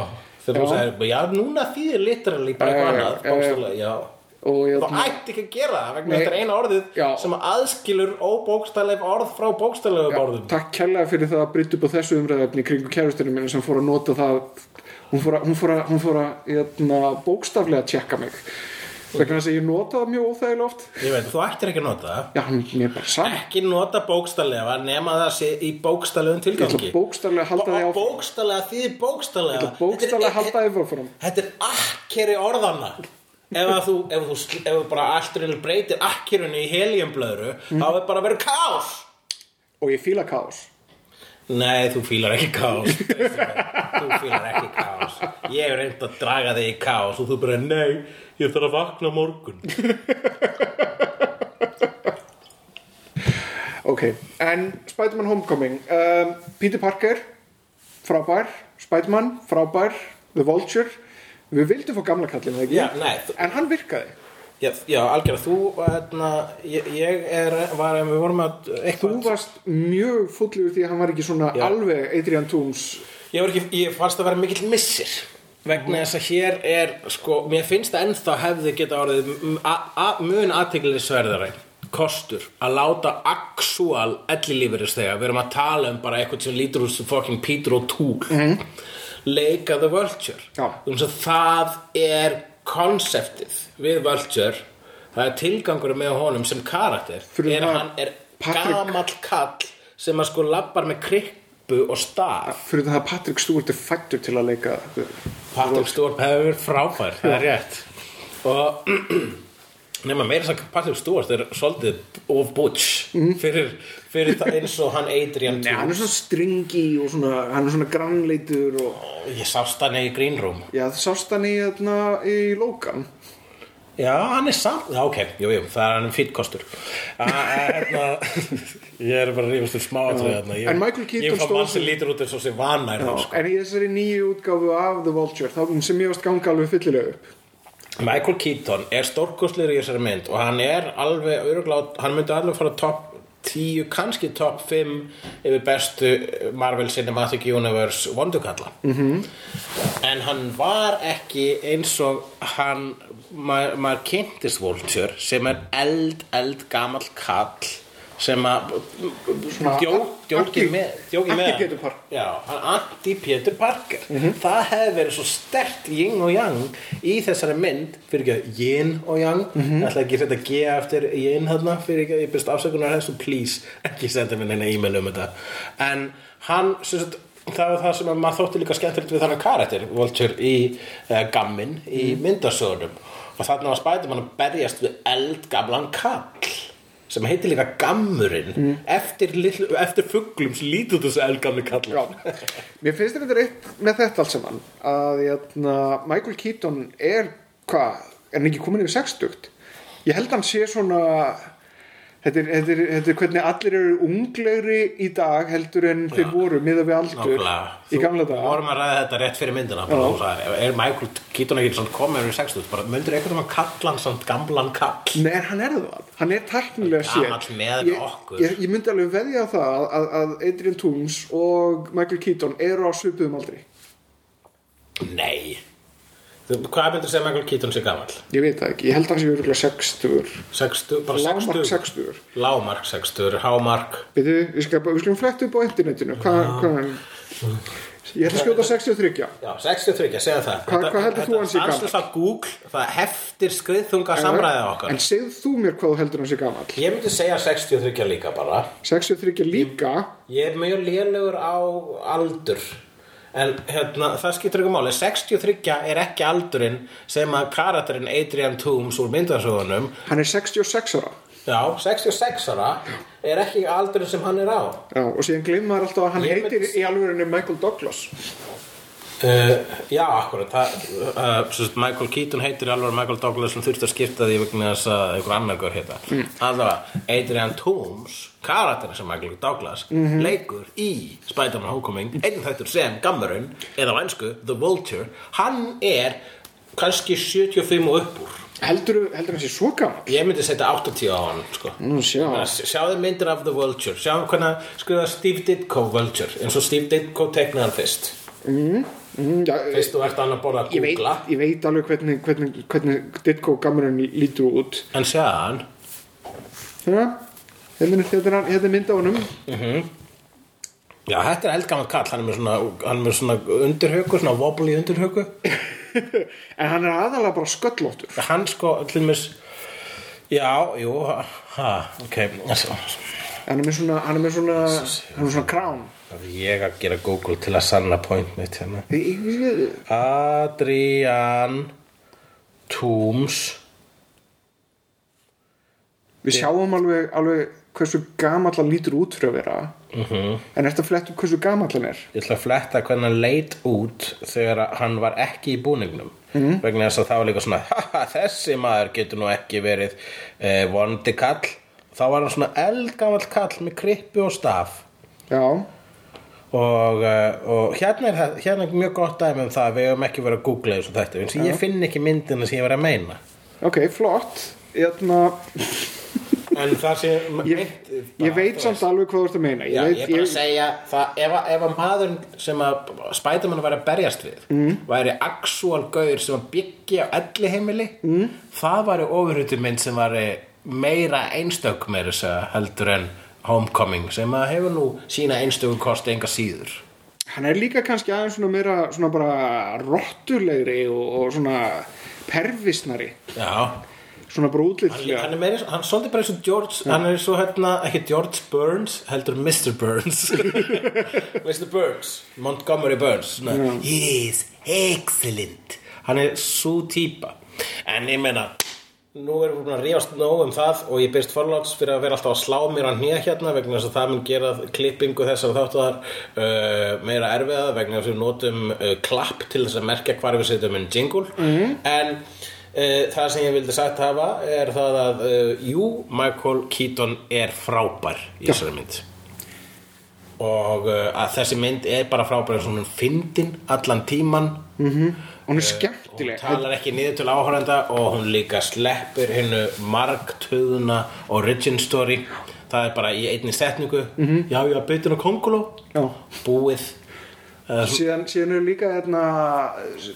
[SPEAKER 4] Þegar þú
[SPEAKER 3] Já.
[SPEAKER 4] sagðir, já, núna þýðir literally bara
[SPEAKER 3] Já,
[SPEAKER 4] eitthvað
[SPEAKER 3] já,
[SPEAKER 4] annað,
[SPEAKER 3] já, já.
[SPEAKER 4] bókstaflega, já.
[SPEAKER 3] og ég hérna,
[SPEAKER 4] Þú
[SPEAKER 3] ætla,
[SPEAKER 4] ætti ekki að gera það vegna
[SPEAKER 3] Nei.
[SPEAKER 4] þetta er eina orðið
[SPEAKER 3] Já.
[SPEAKER 4] sem aðskilur óbókstafleg orð frá bókstaflegum orðum.
[SPEAKER 3] takk kærlega fyrir það að brytta upp á þessu umræðefni kringu kærustinu minni sem fór að nota það hún fór að, hún fór að, hún fór að hérna, bókstaflega tjekka mig vegna þess að ég nota það mjög óþægilega oft
[SPEAKER 4] Ég veit, þú ættir ekki að nota það.
[SPEAKER 3] já, hann mér er bara saman
[SPEAKER 4] Ekki nota bókstaflega nema það sé í bókstaflegum
[SPEAKER 3] ég ætla
[SPEAKER 4] tilgangi.
[SPEAKER 3] bókstaflega að halda því
[SPEAKER 4] Og
[SPEAKER 3] áfram
[SPEAKER 4] bókstaflega þýðir
[SPEAKER 3] ég
[SPEAKER 4] bókstaflega.
[SPEAKER 3] ætla bókstaflega að halda því áfram
[SPEAKER 4] Þetta er akkeri orðanna ef að þú, ef þú, sl- ef þú bara allturinn breytir akkerinu í heliumblöðru
[SPEAKER 3] Mm.
[SPEAKER 4] þá er bara að vera kás
[SPEAKER 3] og ég fíla kaos
[SPEAKER 4] Nei, þú fílar ekki kás þú fílar ekki kás Ég hef reynd að draga þig í kás og þú bara, nei, ég þarf að vakna á morgun
[SPEAKER 3] ok, en Spider-Man Homecoming um, Peter Parker frábær, Spider-Man frábær The Vulture við vildum fá gamla kallin, ekki?
[SPEAKER 4] Já, nei, þú-
[SPEAKER 3] en hann virkaði
[SPEAKER 4] Já, já algjörða, þú, hérna ég, ég er, var, við vorum að
[SPEAKER 3] Þú
[SPEAKER 4] eitthvað,
[SPEAKER 3] varst mjög fullugur því að hann var ekki svona
[SPEAKER 4] Já.
[SPEAKER 3] alveg Adrian Toomes
[SPEAKER 4] ég var ekki, ég fannst að vera mikill missir vegna þess að hér er sko, mér finnst það ennþá hefði geta orðið m- a- a- mun aðteglisverðari kostur að láta actual ellilífurist þegar við erum að tala um bara eitthvað sem lítur úr sem fucking Peter og Tool leika The Vulture
[SPEAKER 3] Mhm. Já.
[SPEAKER 4] um þess að það er konseptið við Vulture það er tilgangur með honum sem karakter
[SPEAKER 3] Fyrir
[SPEAKER 4] er að
[SPEAKER 3] það-
[SPEAKER 4] hann er
[SPEAKER 3] Patrick-
[SPEAKER 4] gamall kall sem að sko lappar með krippu og staf
[SPEAKER 3] fyrir það að Patrick Stewart er fættur til að leika
[SPEAKER 4] Patrick Stewart hefur verið frábær það er rétt og nema meira þess að Patrick Stewart er svolítið of butch fyrir, fyrir það eins og hann Adrian
[SPEAKER 3] Nei, hann
[SPEAKER 4] Toomes
[SPEAKER 3] er svona stringi og svona, hann er svona grannleitur og
[SPEAKER 4] ég sást hann í Green Room
[SPEAKER 3] já, það sást hann í, hérna, í Logan
[SPEAKER 4] já hann er samt, já ok, jú jú það er hann um fýtkostur hérna, ég er bara að rífast um smá atriði þarna. Ég-
[SPEAKER 3] En Michael Keaton
[SPEAKER 4] ég fann
[SPEAKER 3] stóð
[SPEAKER 4] mann sem
[SPEAKER 3] sig-
[SPEAKER 4] lítur út eins og sem vanær
[SPEAKER 3] já,
[SPEAKER 4] sko.
[SPEAKER 3] en í þessari nýju útgáfu af The Vulture þá hún sem ég varst ganga alveg fyllilega upp
[SPEAKER 4] Michael Keaton er stórkostlegur í þessari mynd og hann er alveg öruglega, hann myndi alveg fara topp 10, kannski topp 5 yfir bestu Marvel Cinematic Universe vondukalla -hmm. en hann var ekki eins og hann maður, maður kynntist Vulture sem er eld, eld gamall kall sem að djó- djókið
[SPEAKER 3] anti-
[SPEAKER 4] með, djókið með
[SPEAKER 3] anti-Peter Parker.
[SPEAKER 4] Já, hann Andy Pétur Parker Það hefði verið svo stert yin og yang í þessari mynd fyrir ekki að yin og yang ég ætla ekki að setja G eftir yin hérna fyrir ekki að ég byrst afsökunar þessu please ekki senda mér neina e-mail um þetta en hann sem sagt, það var það sem að maður þótti líka skemmtilegt við þannig karakter Vulture í uh, gammin í myndasögunum og þarna var Spiderman að berjast við eldgamlan kall sem heitir líka Gammurinn eftir, litlu, eftir fuglum sem lítur þessu eldgamli kall
[SPEAKER 3] Já, mér finnst þetta reitt með þetta allt saman að jæna, Michael Keaton er hvað, er hann ekki komin yfir sextugt ég held hann sé svona þetta er, þetta er, þetta er hvernig allir eru unglegri í dag heldur en þeir voru miða við aldur
[SPEAKER 4] Nákvæmlega.
[SPEAKER 3] í gamla
[SPEAKER 4] Þú
[SPEAKER 3] dag
[SPEAKER 4] vorum að ræða þetta rétt fyrir myndina bara, þú sagðir, Er Michael Keaton ekki svona komið um 60 bara, Möndur eitthvað um að kalla hann samt gamlan kall
[SPEAKER 3] Nei, hann er það, hann er tæknilega sér
[SPEAKER 4] Gamall með okkur.
[SPEAKER 3] ég, ég myndi alveg veðja á það að, að Adrian Toomes og Michael Keaton eru á svipuðum aldri
[SPEAKER 4] Nei Þú- Hvað myndir segja Michael Keaton sé gamall?
[SPEAKER 3] Ég veit það ekki, ég held að það sé virkulega 60
[SPEAKER 4] 60, bara
[SPEAKER 3] Lámark
[SPEAKER 4] 60
[SPEAKER 3] 60
[SPEAKER 4] Lámark 60, hámark
[SPEAKER 3] Við, við, skulum, við skulum fletta upp á internetinu Hva, hvað Ég ætla að skjóta 63
[SPEAKER 4] Já, 63, segja það
[SPEAKER 3] Hvað- hvað heldur þú hann sé gamall?
[SPEAKER 4] Allslega Google, það heftir skriðþunga samræðið okkar
[SPEAKER 3] En segð þú mér hvað þú heldur hann sé gamall
[SPEAKER 4] Ég myndi segja 63 líka bara
[SPEAKER 3] 63 líka
[SPEAKER 4] Ég er mjög lélugur á aldur En hérna, það skiptir ekki máli 63 er ekki aldurinn sem að karakterinn Adrian Toomes úr myndarsögunum
[SPEAKER 3] Hann er 66 ára
[SPEAKER 4] Já, 66 ára er ekki aldurinn sem hann er á
[SPEAKER 3] Já, og síðan glimmaður alltaf að hann
[SPEAKER 4] Ég
[SPEAKER 3] heitir
[SPEAKER 4] myndi-
[SPEAKER 3] í alvegurinu Michael Douglas
[SPEAKER 4] Uh, já, akkurat það, uh, svo sagt, Michael Keaton heitir alveg Michael Douglas sem þurfti að skipta því vegna þess að einhver annar gaur heita mm. allavega, Adrian Toomes karakterinn sem Michael Douglas
[SPEAKER 3] Mhm.
[SPEAKER 4] leikur í Spider-Man Homecoming einn þættur sem Gammerun eða á ennsku, The Vulture hann er kannski 75 og upp úr
[SPEAKER 3] Heldur hann sé svo gamall?
[SPEAKER 4] ég myndi setja 80 á hann sko.
[SPEAKER 3] Nú sjá
[SPEAKER 4] Bara sj- sjáðu myndir af The Vulture sjáðu hvernig skrifa Steve Ditko Vulture eins og Steve Ditko teiknaði hann fyrst
[SPEAKER 3] Mm, já,
[SPEAKER 4] fyrst þú ert annað borða að
[SPEAKER 3] ég, veit,
[SPEAKER 4] googla
[SPEAKER 3] ég veit alveg hvernig, hvernig, hvernig Ditko gamurinn lítur út
[SPEAKER 4] En séðan,
[SPEAKER 3] Já, hérna er- hérna er hann- hérna er mynd á honum
[SPEAKER 4] já þetta er eldgammal kall, hann er með svona, hann er með svona undirhauku, svona wobbly undirhauku.
[SPEAKER 3] En hann er aðalega bara sköllóttur
[SPEAKER 4] Hann sko, til mér, já, jú, ha, ok, svo,
[SPEAKER 3] Hann er með svona, hann er með svona, hann er með svona krán
[SPEAKER 4] það er ég að gera Google til að sanna point mitt hérna.
[SPEAKER 3] Ég- ég- ég- ég-
[SPEAKER 4] Adrian Tooms,
[SPEAKER 3] Við sjáum alveg, alveg hversu gamall hann lítur út fyrir að vera En eftir að fletta upp hversu gamall hann er
[SPEAKER 4] ég ætla að fletta hvernig hann leit út þegar að hann var ekki í búningnum.
[SPEAKER 3] Mhm.
[SPEAKER 4] Vegna þess að það var líka svona, haha, þessi maður getur nú ekki verið eh, vondi kall. Þá var hann svona eldgamall kall með krippu og staf.
[SPEAKER 3] Já,
[SPEAKER 4] og, eh, og hérna, er, það- hérna er mjög gott dæmi um það að við höfum ekki verið að googla þessu þetta eins og ég finn ekki myndina sem ég verið að meina
[SPEAKER 3] ok, flott Hérna,
[SPEAKER 4] en það sé
[SPEAKER 3] ég, ég veit samt alveg hvað þú ert að meina
[SPEAKER 4] Já,
[SPEAKER 3] veit,
[SPEAKER 4] ég er bara að segja það, ef, að- ef að maðurinn sem að Spiderman var að berjast við mm. væri actual gaur sem að byggja á elli heimili mm. það væri ofurhutu mynd sem væri meira einstök meira þess að heldur en Homecoming sem að hefur nú sína einstöku kosti enga síður
[SPEAKER 3] hann er líka kannski aðeins svona meira svona bara rottulegri og, og svona pervisnari
[SPEAKER 4] Já,
[SPEAKER 3] svona bara útlitslega
[SPEAKER 4] hann er meiri, hann er svolítið bara eins og George hann er svo hérna, ekki George Burns heldur Mr. Burns Mr. Burns, Montgomery Burns svona, yes, excellent hann er svo típa en ég meina nú erum við búin að rífast nóg um það og ég byrst forláts fyrir að vera alltaf að slá mér hann nýja hérna vegna þess að það mun gera klippingu þessar þáttuðar uh, meira erfiða vegna þess að við notum uh, klapp til þess að merkja hvar við setjum en jingle mm. en uh, það sem ég vildi sagt hafa er það að uh, jú, Michael Keaton er frábær í þessari mynd og uh, að þessi mynd er bara frábær eins og hún er fyndin allan tíman
[SPEAKER 3] og hún er
[SPEAKER 4] hún
[SPEAKER 3] skemmtileg
[SPEAKER 4] Eh, talar ekki niður til áhorenda og hún líka sleppur hennu margtöðuna origin story það er bara í einni setningu já, já, beitur á konguló
[SPEAKER 3] Já.
[SPEAKER 4] búið uh,
[SPEAKER 3] síðan, síðan er líka hérna,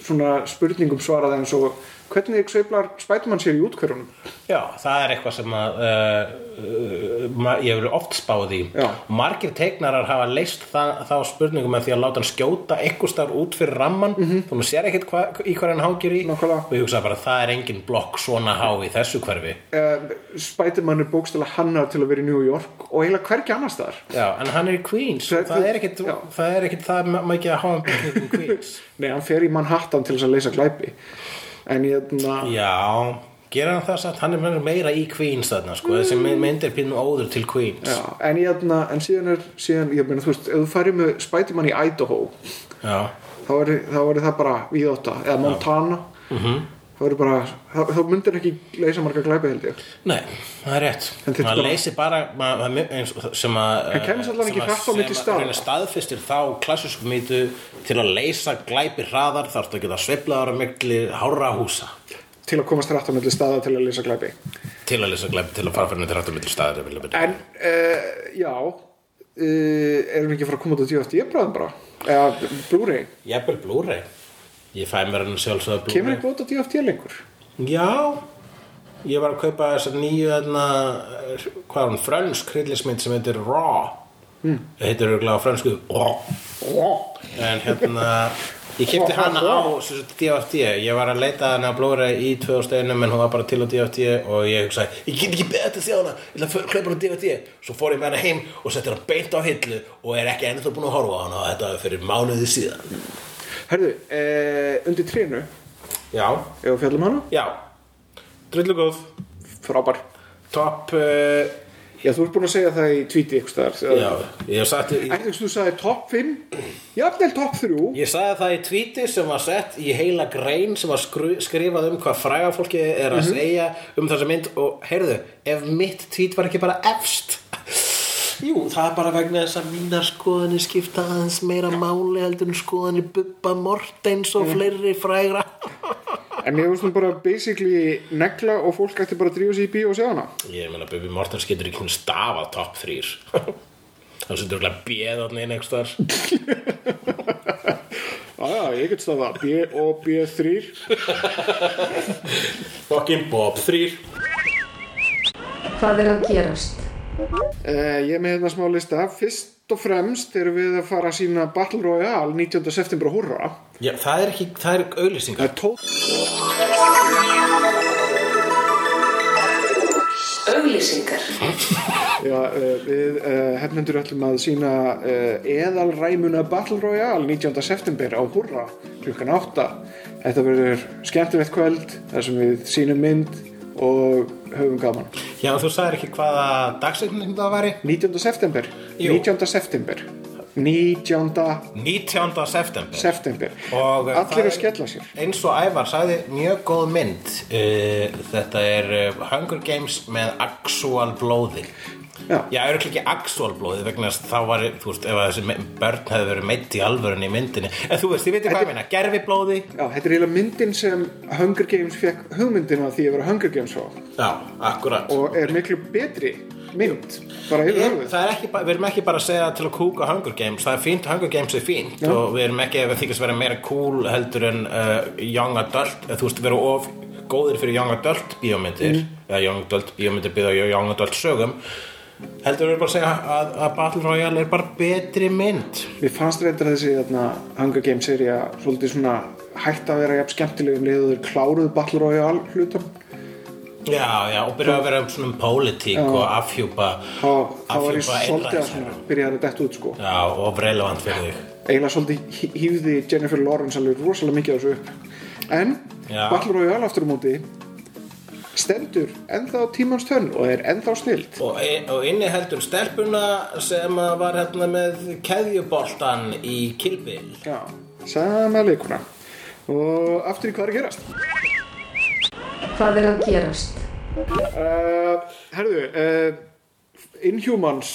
[SPEAKER 3] svona spurningum svarað eins og hvernig sveiflar spætumann sér í útkverjunum
[SPEAKER 4] já, það er eitthvað sem að uh, uh, ma- ég hefur oft spáð í
[SPEAKER 3] Já.
[SPEAKER 4] og margir teiknarar hafa leist það, þá spurningum með því að láta hann skjóta einhvers þar út fyrir ramman mm -hmm. þú sér ekkert hva, í hver hann hangir í
[SPEAKER 3] Mhm. Nákvæmlega.
[SPEAKER 4] og ég hugsa bara, það er engin blokk svona há í þessu hverfi
[SPEAKER 3] uh, spætumann er bókstæla hannar til að vera í New York og heila hvergi annars þar
[SPEAKER 4] Já, en hann er í Queens
[SPEAKER 3] Það-
[SPEAKER 4] það, það er ekkit
[SPEAKER 3] já.
[SPEAKER 4] það, er ekkit það ma- mikið að hafa hann byggningum Queens
[SPEAKER 3] nei, hann fer í Manhattan til þess að leysa glæpi en hérna
[SPEAKER 4] Já, gera hann það satt hann er meira í Queens þarna sko. þessi mynd mynd er pínu óður til Queens
[SPEAKER 3] Mm. Já, en, ég, hérna- en síðan er síðan, ég meina, þú veist, ef þú færir með Spiderman í Idaho
[SPEAKER 4] Já.
[SPEAKER 3] þá er, þá er það bara Víðóta eða Montana þá, er bara, þá, þá myndir ekki leysa marga glæpi held ég
[SPEAKER 4] Nei, það er rétt
[SPEAKER 3] En þetta er
[SPEAKER 4] maður
[SPEAKER 3] bara-
[SPEAKER 4] leysir bara mað, mað, eins, og það- sem að
[SPEAKER 3] Hann kemst allan
[SPEAKER 4] sem
[SPEAKER 3] ekki
[SPEAKER 4] að-
[SPEAKER 3] hratt á milli
[SPEAKER 4] sem að
[SPEAKER 3] staða.
[SPEAKER 4] raunar staðfistir þá klassísku mýtu til að leysa glæpi hraðar þarf það að geta sveiflaðar á mikli hárra húsa
[SPEAKER 3] til að komast rætt á milli staða til að leysa glæpi
[SPEAKER 4] til að leysa glæpi til að fara fyrir nýttir hratt á milli staðar ef vilja byrja.
[SPEAKER 3] en uh, já eh, uh, erum við ekki að fara að koma út á 10.8 ég bræðum bara eða Blu-ray
[SPEAKER 4] Jafnvel Blu-ray Ég fæ mér hann sjálfsögðu blúmi.
[SPEAKER 3] Kemur eitthvað út á DFT lengur?
[SPEAKER 4] Já, ég var að kaupa þessa nýju þarna, eh, hvað er hún, frönsk hryllismynd sem heitir Raw.
[SPEAKER 3] Hmm.
[SPEAKER 4] Mm. Það heitir auðvitað á frönsku Raw. En hérna, ég kipti hana á sem sagt, DFT. Ég var að leita hana að blóra í 2001 en hún var bara til á DFT og ég hugsaði, ég get ekki beðið að sjá hana, ég ætla að kaupa hana á DFT. Svo fór ég með hana heim og setti hana beint á hillu og er ekki ennþá búin að horfa á hana og þetta var fyrir mánuði síðan.
[SPEAKER 3] Herðu, eh, undir trénu,
[SPEAKER 4] Já,
[SPEAKER 3] ef við fjallum hana,
[SPEAKER 4] já, drullu góð,
[SPEAKER 3] frábær.
[SPEAKER 4] topp... Uh,
[SPEAKER 3] Já, þú ert búin að segja það í tvíti ykkur staðar.
[SPEAKER 4] Já, ég sagði, ég,
[SPEAKER 3] Ætlis þú sagði topp 5, jafnvel topp 3,
[SPEAKER 4] ég sagði það í tvíti sem var sett í heila grein sem var skru, skrifað um hvað fræga fólki er að segja um þessa mynd og heyrðu, ef mitt tvít var ekki bara efst Jú, það er bara vegna þess að mínar skoðanir skipta aðeins meira máli heldur en skoðanir Bubba Mortens og fleiri frægra
[SPEAKER 3] en mér finnst hún bara basically negla og fólk ætti bara að drífa sér í bíó og segja hana.
[SPEAKER 4] Ég meina Bubba Mortens getur ekki hún stafa topp þrýr Það setur ekki að beða hann einn einhvers þar
[SPEAKER 3] Já, já, ég get staða B og B3.
[SPEAKER 4] Fucking Bob þrýr
[SPEAKER 5] Hvað er að gerast?
[SPEAKER 3] Eh, ég er með hérna smá lista. Fyrst og fremst erum við að fara að sína Battle Royale 19. september og hurra.
[SPEAKER 4] Já, það er ekki, það er auðlýsingar
[SPEAKER 3] Það er tótt
[SPEAKER 5] Auglýsingar.
[SPEAKER 3] Já, eh, við uh, hefnendur ætlum að sína uh, eðalræmuna Battle Royale 19. september á Hurra klukkan 8. Þetta verður skemmtilegt kvöld þar sem við sínum mynd og höfum gaman.
[SPEAKER 4] Já, þú sagðir ekki hvaða dagsetning það væri?
[SPEAKER 3] 19. september?
[SPEAKER 4] Jú.
[SPEAKER 3] 19. september. 19.
[SPEAKER 4] 19. september
[SPEAKER 3] september.
[SPEAKER 4] Og eh, það
[SPEAKER 3] Allir
[SPEAKER 4] er-
[SPEAKER 3] að skella sér.
[SPEAKER 4] Eins og Ævar sagði, mjög góð mynd uh, Þetta er uh, Hunger Games með actual blóði
[SPEAKER 3] Já.
[SPEAKER 4] Já, eru ekki actual blóði vegna þess að þá var, þú veist, ef að þessi me- börn hefði verið meitt í alvörunni í myndinni En þú veist, ég veit ekki hvað ég meina, gerfi blóði
[SPEAKER 3] Já, þetta er eiginlega myndin sem Hunger Games fekk hugmyndina af því að vera Hunger Games frá
[SPEAKER 4] Já, akkurat
[SPEAKER 3] og er miklu betri mynd, bara yfir
[SPEAKER 4] Ég-
[SPEAKER 3] öðruð.
[SPEAKER 4] Það er ekki, bara- við erum ekki bara að segja til að kúka Hunger Games, það er fínt, Hunger Games er fínt og við erum ekki að þykast vera meira cool heldur en uh, young adult eða þú veist, vera of góðir fyrir young adult bíómyndir,
[SPEAKER 3] Mm.
[SPEAKER 4] eða young adult bíómyndir byggða á young adult sögum heldur við erum bara að segja að, að Battle Royale er bara betri mynd
[SPEAKER 3] Mér fannst reyndar þessi þarna, Hunger Games seria svolítið svona hægt að vera jafn um skemmtilegum liður kláruð Battle Royale hlutum
[SPEAKER 4] Já, já, og byrja að vera um svona um pólitík og afhjúpa
[SPEAKER 3] þá, þá var ég
[SPEAKER 4] afhjúpa
[SPEAKER 3] svolítið að
[SPEAKER 4] einræðisherra.
[SPEAKER 3] svona byrjaði að detta út sko
[SPEAKER 4] Já, og relevant fyrir þig
[SPEAKER 3] eiginlega svolítið hí- hýfði Jennifer Lawrence alveg rosalega mikið á þessu upp en
[SPEAKER 4] Já.
[SPEAKER 3] Battle Royale aftur á móti stendur ennþá tímans tönn og er ennþá snilt
[SPEAKER 4] Og, e, og inni heldur stelpuna sem að var hérna með keðjuboltan í kilbil.
[SPEAKER 3] Já, sama leikuna og aftur í hvað er að gerast
[SPEAKER 5] Hvað er að gerast?
[SPEAKER 3] Uh, herðu, uh, Inhumans,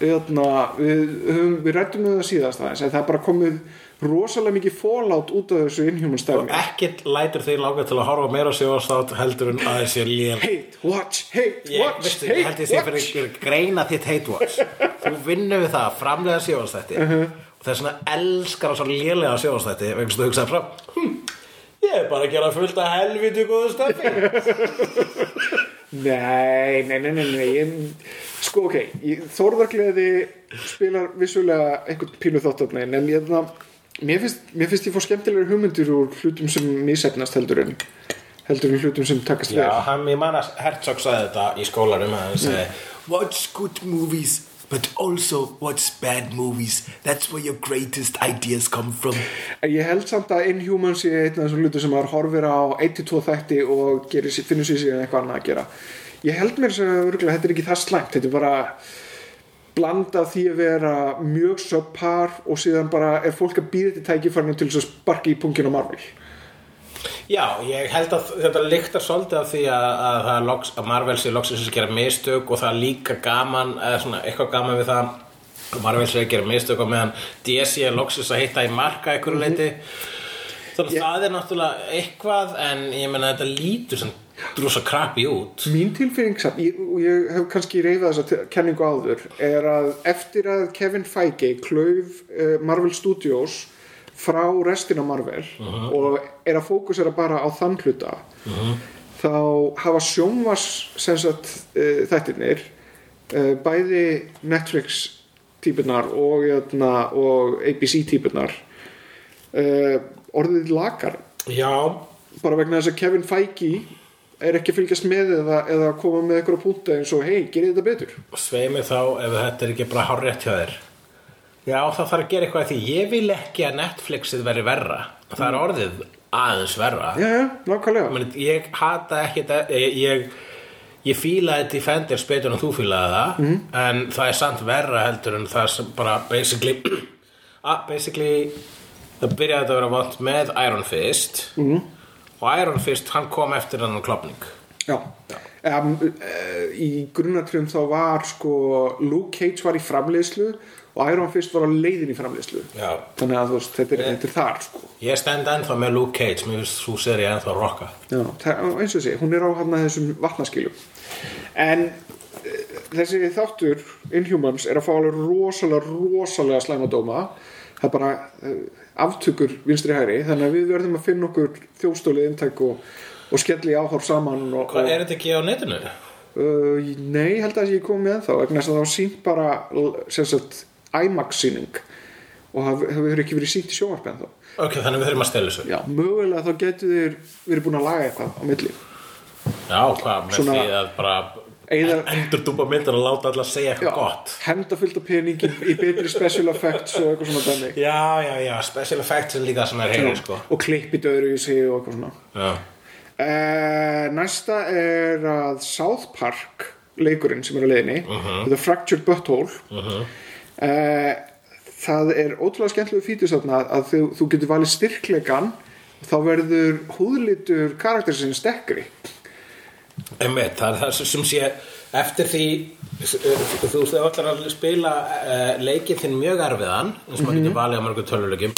[SPEAKER 3] hérna, við, höfum, við rættum við það síðast aðeins, en það er bara komið rosalega mikið fallout út af þessu Inhumans
[SPEAKER 4] Og
[SPEAKER 3] dæmi.
[SPEAKER 4] ekkert lætur þig langa til að horfa meira sjóðastátt heldur en að þessi lél.
[SPEAKER 3] Hate, watch, hate,
[SPEAKER 4] Ég,
[SPEAKER 3] watch,
[SPEAKER 4] veistu,
[SPEAKER 3] hate,
[SPEAKER 4] ég held ég sé fyrir
[SPEAKER 3] watch.
[SPEAKER 4] einhver greina þitt heitwatch. Þú vinnur við það að framlega sjóðastætti.
[SPEAKER 3] Mhm.
[SPEAKER 4] Og það er svona elskar að svona lélega sjóðastætti vegna þess að þú hugsaði fram. Hm, ég er bara að gera fullt að helviti góðu stöfi.
[SPEAKER 3] Nei, nei, nei, nei, nei, ég, sko, ok, ég, Þórðargleði spilar vissulega einhvern pílu þáttöfnin, en ég, það, mér finnst, mér finnst ég fór skemmtilegur hugmyndir úr hlutum sem misætnast heldur en, heldur en hlutum sem takast
[SPEAKER 4] Já,
[SPEAKER 3] vel.
[SPEAKER 4] hann, ég man að Herzog sagði þetta í skólanum að hann
[SPEAKER 3] Mhm.
[SPEAKER 4] segi Watch good movies but also watch bad movies That's where your greatest ideas come from
[SPEAKER 3] En Ég held samt að Inhumans sé einn af þessum hlutum sem maður horfir á 1-2 þætti og gerir, sér- finnur sér síðan eitthvað annað að gera. Ég held mér sem örgulega, þetta er ekki það slæmt, þetta er bara blanda af því að vera mjög subpar og síðan bara er fólk að býða þetta tækifærnum til þess að sparki í punktinu á Marvel.
[SPEAKER 4] Já, ég held að þetta lyktar svolítið af því að, að, það er loks, að Marvel sé loksins að gera mistök og það er líka gaman, eða svona eitthvað gaman við það að Marvel sé að gera mistök og meðan DC er loksins að hitta í marka einhverju leiti Þannig að það er náttúrulega eitthvað en ég meina þetta lítur sem drúsa krapi út
[SPEAKER 3] Mín tilfinning samt, ég, og ég hef kannski reyfað þessa te- kenningu áður, er að eftir að Kevin Feige klauf uh, Marvel eh, Studios frá restina Marvel og er að fókusera bara á þann hluta þá hafa sjónvars sem sagt uh, þættirnir uh, bæði Netflix típunar og, jötna, og ABC típunar uh, orðið lakar
[SPEAKER 4] Já,
[SPEAKER 3] bara vegna þess að Kevin Feige er ekki að fylgjast með eða, eða koma með eitthvað púnta eins og hei, gerið þetta betur
[SPEAKER 4] sveið mig þá ef þetta er ekki bara hárétt hjá þér Já, það þarf að gera eitthvað að því ég vil ekki að Netflixið veri verra það er orðið aðeins verra
[SPEAKER 3] já, já, nákvæmlega
[SPEAKER 4] Meni, ég hata ekki þetta ég, ég, ég fílaði Defenders betur en þú fílaði það
[SPEAKER 3] Mhm.
[SPEAKER 4] en það er samt verra heldur en það sem bara basically ah, basically það byrjaði þetta að vera vant með Iron Fist
[SPEAKER 3] Mhm.
[SPEAKER 4] mm. og Iron Fist hann kom eftir hann klopning
[SPEAKER 3] já. Um, uh, í grunnatrjum þá var sko Luke Cage var í framleiðslu og Iron Fist var á leiðin í framleiðslu
[SPEAKER 4] Já.
[SPEAKER 3] þannig að þú veist, þetta er, þetta er þar sko
[SPEAKER 4] ég stend ennþá með Luke Cage mér finnst þú serið ennþá að rocka
[SPEAKER 3] Já, það, eins og þessi, hún er á hann að þessum vatnaskilum en eh, þessi þáttur Inhumans er að fá alveg rosalega rosalega slæmadóma það er bara uh, aftökur vinstri hæri þannig að við verðum að finna okkur þjóstólið inntæk og, og skelli áhorf saman og,
[SPEAKER 4] hvað
[SPEAKER 3] og,
[SPEAKER 4] er þetta ekki á netinu?
[SPEAKER 3] Uh, nei, ég held að ég kom með þá vegna þess að það var sínt bara l- sem sagt IMAX síning og það það hefur ekki verið sínt í sjónvarpi en þá
[SPEAKER 4] ok, þannig við þurfum að stela þessu
[SPEAKER 3] Já, mögulega þá getur þeir verið búin að laga eitthvað á milli
[SPEAKER 4] já, hvað með
[SPEAKER 3] Svona-
[SPEAKER 4] því að bara
[SPEAKER 3] Eyða-
[SPEAKER 4] endur dúpa myndar og láta alla segja eitthvað gott
[SPEAKER 3] henda fullt af peningi í betri special effects og eitthvað svona dæmi
[SPEAKER 4] Já, já, já, special effects er líka svona reyri, sko
[SPEAKER 3] og klippið öðru í sig og eitthvað svona
[SPEAKER 4] Já,
[SPEAKER 3] uh, næsta er að South Park leikurinn sem er á leiðinni
[SPEAKER 4] Uh-huh.
[SPEAKER 3] The Fractured Butthole uh það er ótrúlega skemmtilegu fítus þarna að þú, þú getur valið styrklegan þá verður húðlítur karakterisins dekkri
[SPEAKER 4] einmitt, það er það sem sé eftir því eh, þú þú veist, þau ætlar að spila uh, leikið þinn mjög erfiðan eins og maður getur valið á mörgum töluleikum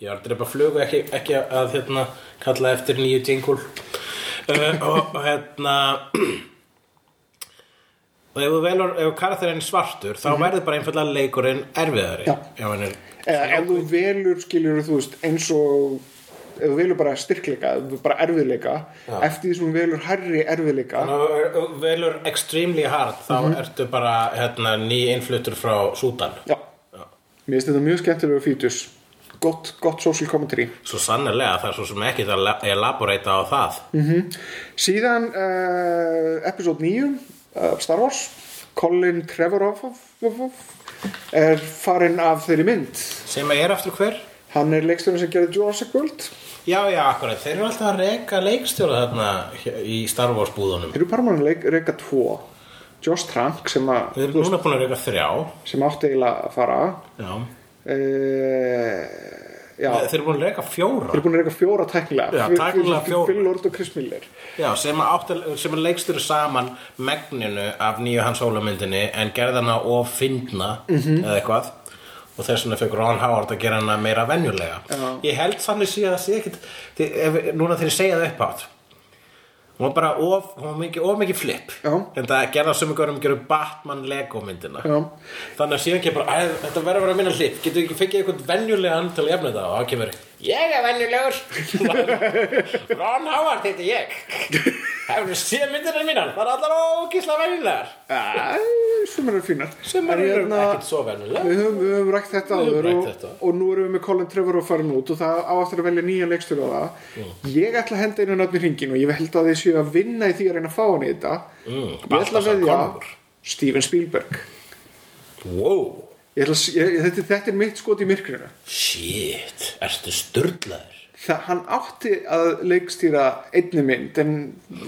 [SPEAKER 4] Ég var að drepa flugu ekki, ekki að hérna, kalla eftir nýju jingle uh, og, og hérna og ef þú velur ef karakterinn er svartur, þá verður bara einfallega leikurinn erfiðari
[SPEAKER 3] Já. Eh,
[SPEAKER 4] ef hann er
[SPEAKER 3] eða ef þú velur skilur þú veist eins og ef þú velur bara styrkleika, ef þú bara erfiðleika eftir því sem þú velur hærri erfiðleika
[SPEAKER 4] Þannig að þú velur extremely hard þá ertu bara hérna, ný innfluttur frá Súdan
[SPEAKER 3] Mhm. já, mér finnst þetta mjög skemmtilegu fítus gott, gott social commentary
[SPEAKER 4] svo sannarlega það er svo sem ekki það að elaborata á það
[SPEAKER 3] Mhm. Síðan uh, episode 9 uh, Star Wars Colin Trevorov er farinn af þeirri mynd
[SPEAKER 4] sem er aftur hver
[SPEAKER 3] hann er leiksturinn sem gerði Jurassic World
[SPEAKER 4] já já akkurat, þeir eru alltaf að reka leikstjóra þarna hér- í Star Wars búðunum
[SPEAKER 3] þeir eru parmann leik, reyka 2 Josh Trank sem,
[SPEAKER 4] þeir
[SPEAKER 3] að,
[SPEAKER 4] eru núna búin að reka þrjá
[SPEAKER 3] sem átti eiginlega að fara
[SPEAKER 4] já.
[SPEAKER 3] uh, já
[SPEAKER 4] þeir eru búin að reka
[SPEAKER 3] þeir
[SPEAKER 4] fjóra
[SPEAKER 3] eru búin að reyka fjóra tæknilega
[SPEAKER 4] Já, tæknilega fjóra.
[SPEAKER 3] Phil Lord og Chris Miller
[SPEAKER 4] já, sem, átti- sem er leikstjóri saman megninu af nýju hans hólumyndinni en gerðana og fyndna
[SPEAKER 3] Mhm.
[SPEAKER 4] eða eitthvað og þess vegna fekk Ron Howard að gera hana meira venjulega
[SPEAKER 3] Já.
[SPEAKER 4] ég held þannig síðan að sé ekkit þið- ef- núna þegar ég segja það upp átt hún var bara of, hún var mikið, of mikið flip
[SPEAKER 3] Já.
[SPEAKER 4] en það gerða sem ykkur um gerðu Batman Lego myndina
[SPEAKER 3] Já.
[SPEAKER 4] þannig að síðan kemur bara, "Æ, þetta verður að vera minna flip getur ekki fengið eitthvað venjulegan til að jafna þetta og það kemur, ég er venjulegur Ron Howard heiti ég hefur séð myndina mínan það er allar ógislega venjulegar
[SPEAKER 3] Æ, sem eru fínar
[SPEAKER 4] sem
[SPEAKER 3] En
[SPEAKER 4] er
[SPEAKER 3] hérna-
[SPEAKER 4] ekkert svo venjulegar
[SPEAKER 3] Við höfum, við höfum rækt þetta
[SPEAKER 4] Við höfum
[SPEAKER 3] áður
[SPEAKER 4] rætt
[SPEAKER 3] og,
[SPEAKER 4] þetta.
[SPEAKER 3] og nú erum við með Colin Trevor að fara út og það á eftir að velja nýja leikstöru á það Ég ætla að henda einu nöfni hringin og ég held að þið séu að vinna í því að reyna að fá hann í þetta
[SPEAKER 4] Mm,
[SPEAKER 3] Ég ætla að
[SPEAKER 4] Baltasar
[SPEAKER 3] veðja
[SPEAKER 4] Konungur.
[SPEAKER 3] Steven Spielberg
[SPEAKER 4] wow,
[SPEAKER 3] Ég ætla, að s- ég, þetta, þetta er mitt skot í myrkrinu
[SPEAKER 4] shit, ertu sturdlaður
[SPEAKER 3] Það hann átti að leikstýra einni mynd en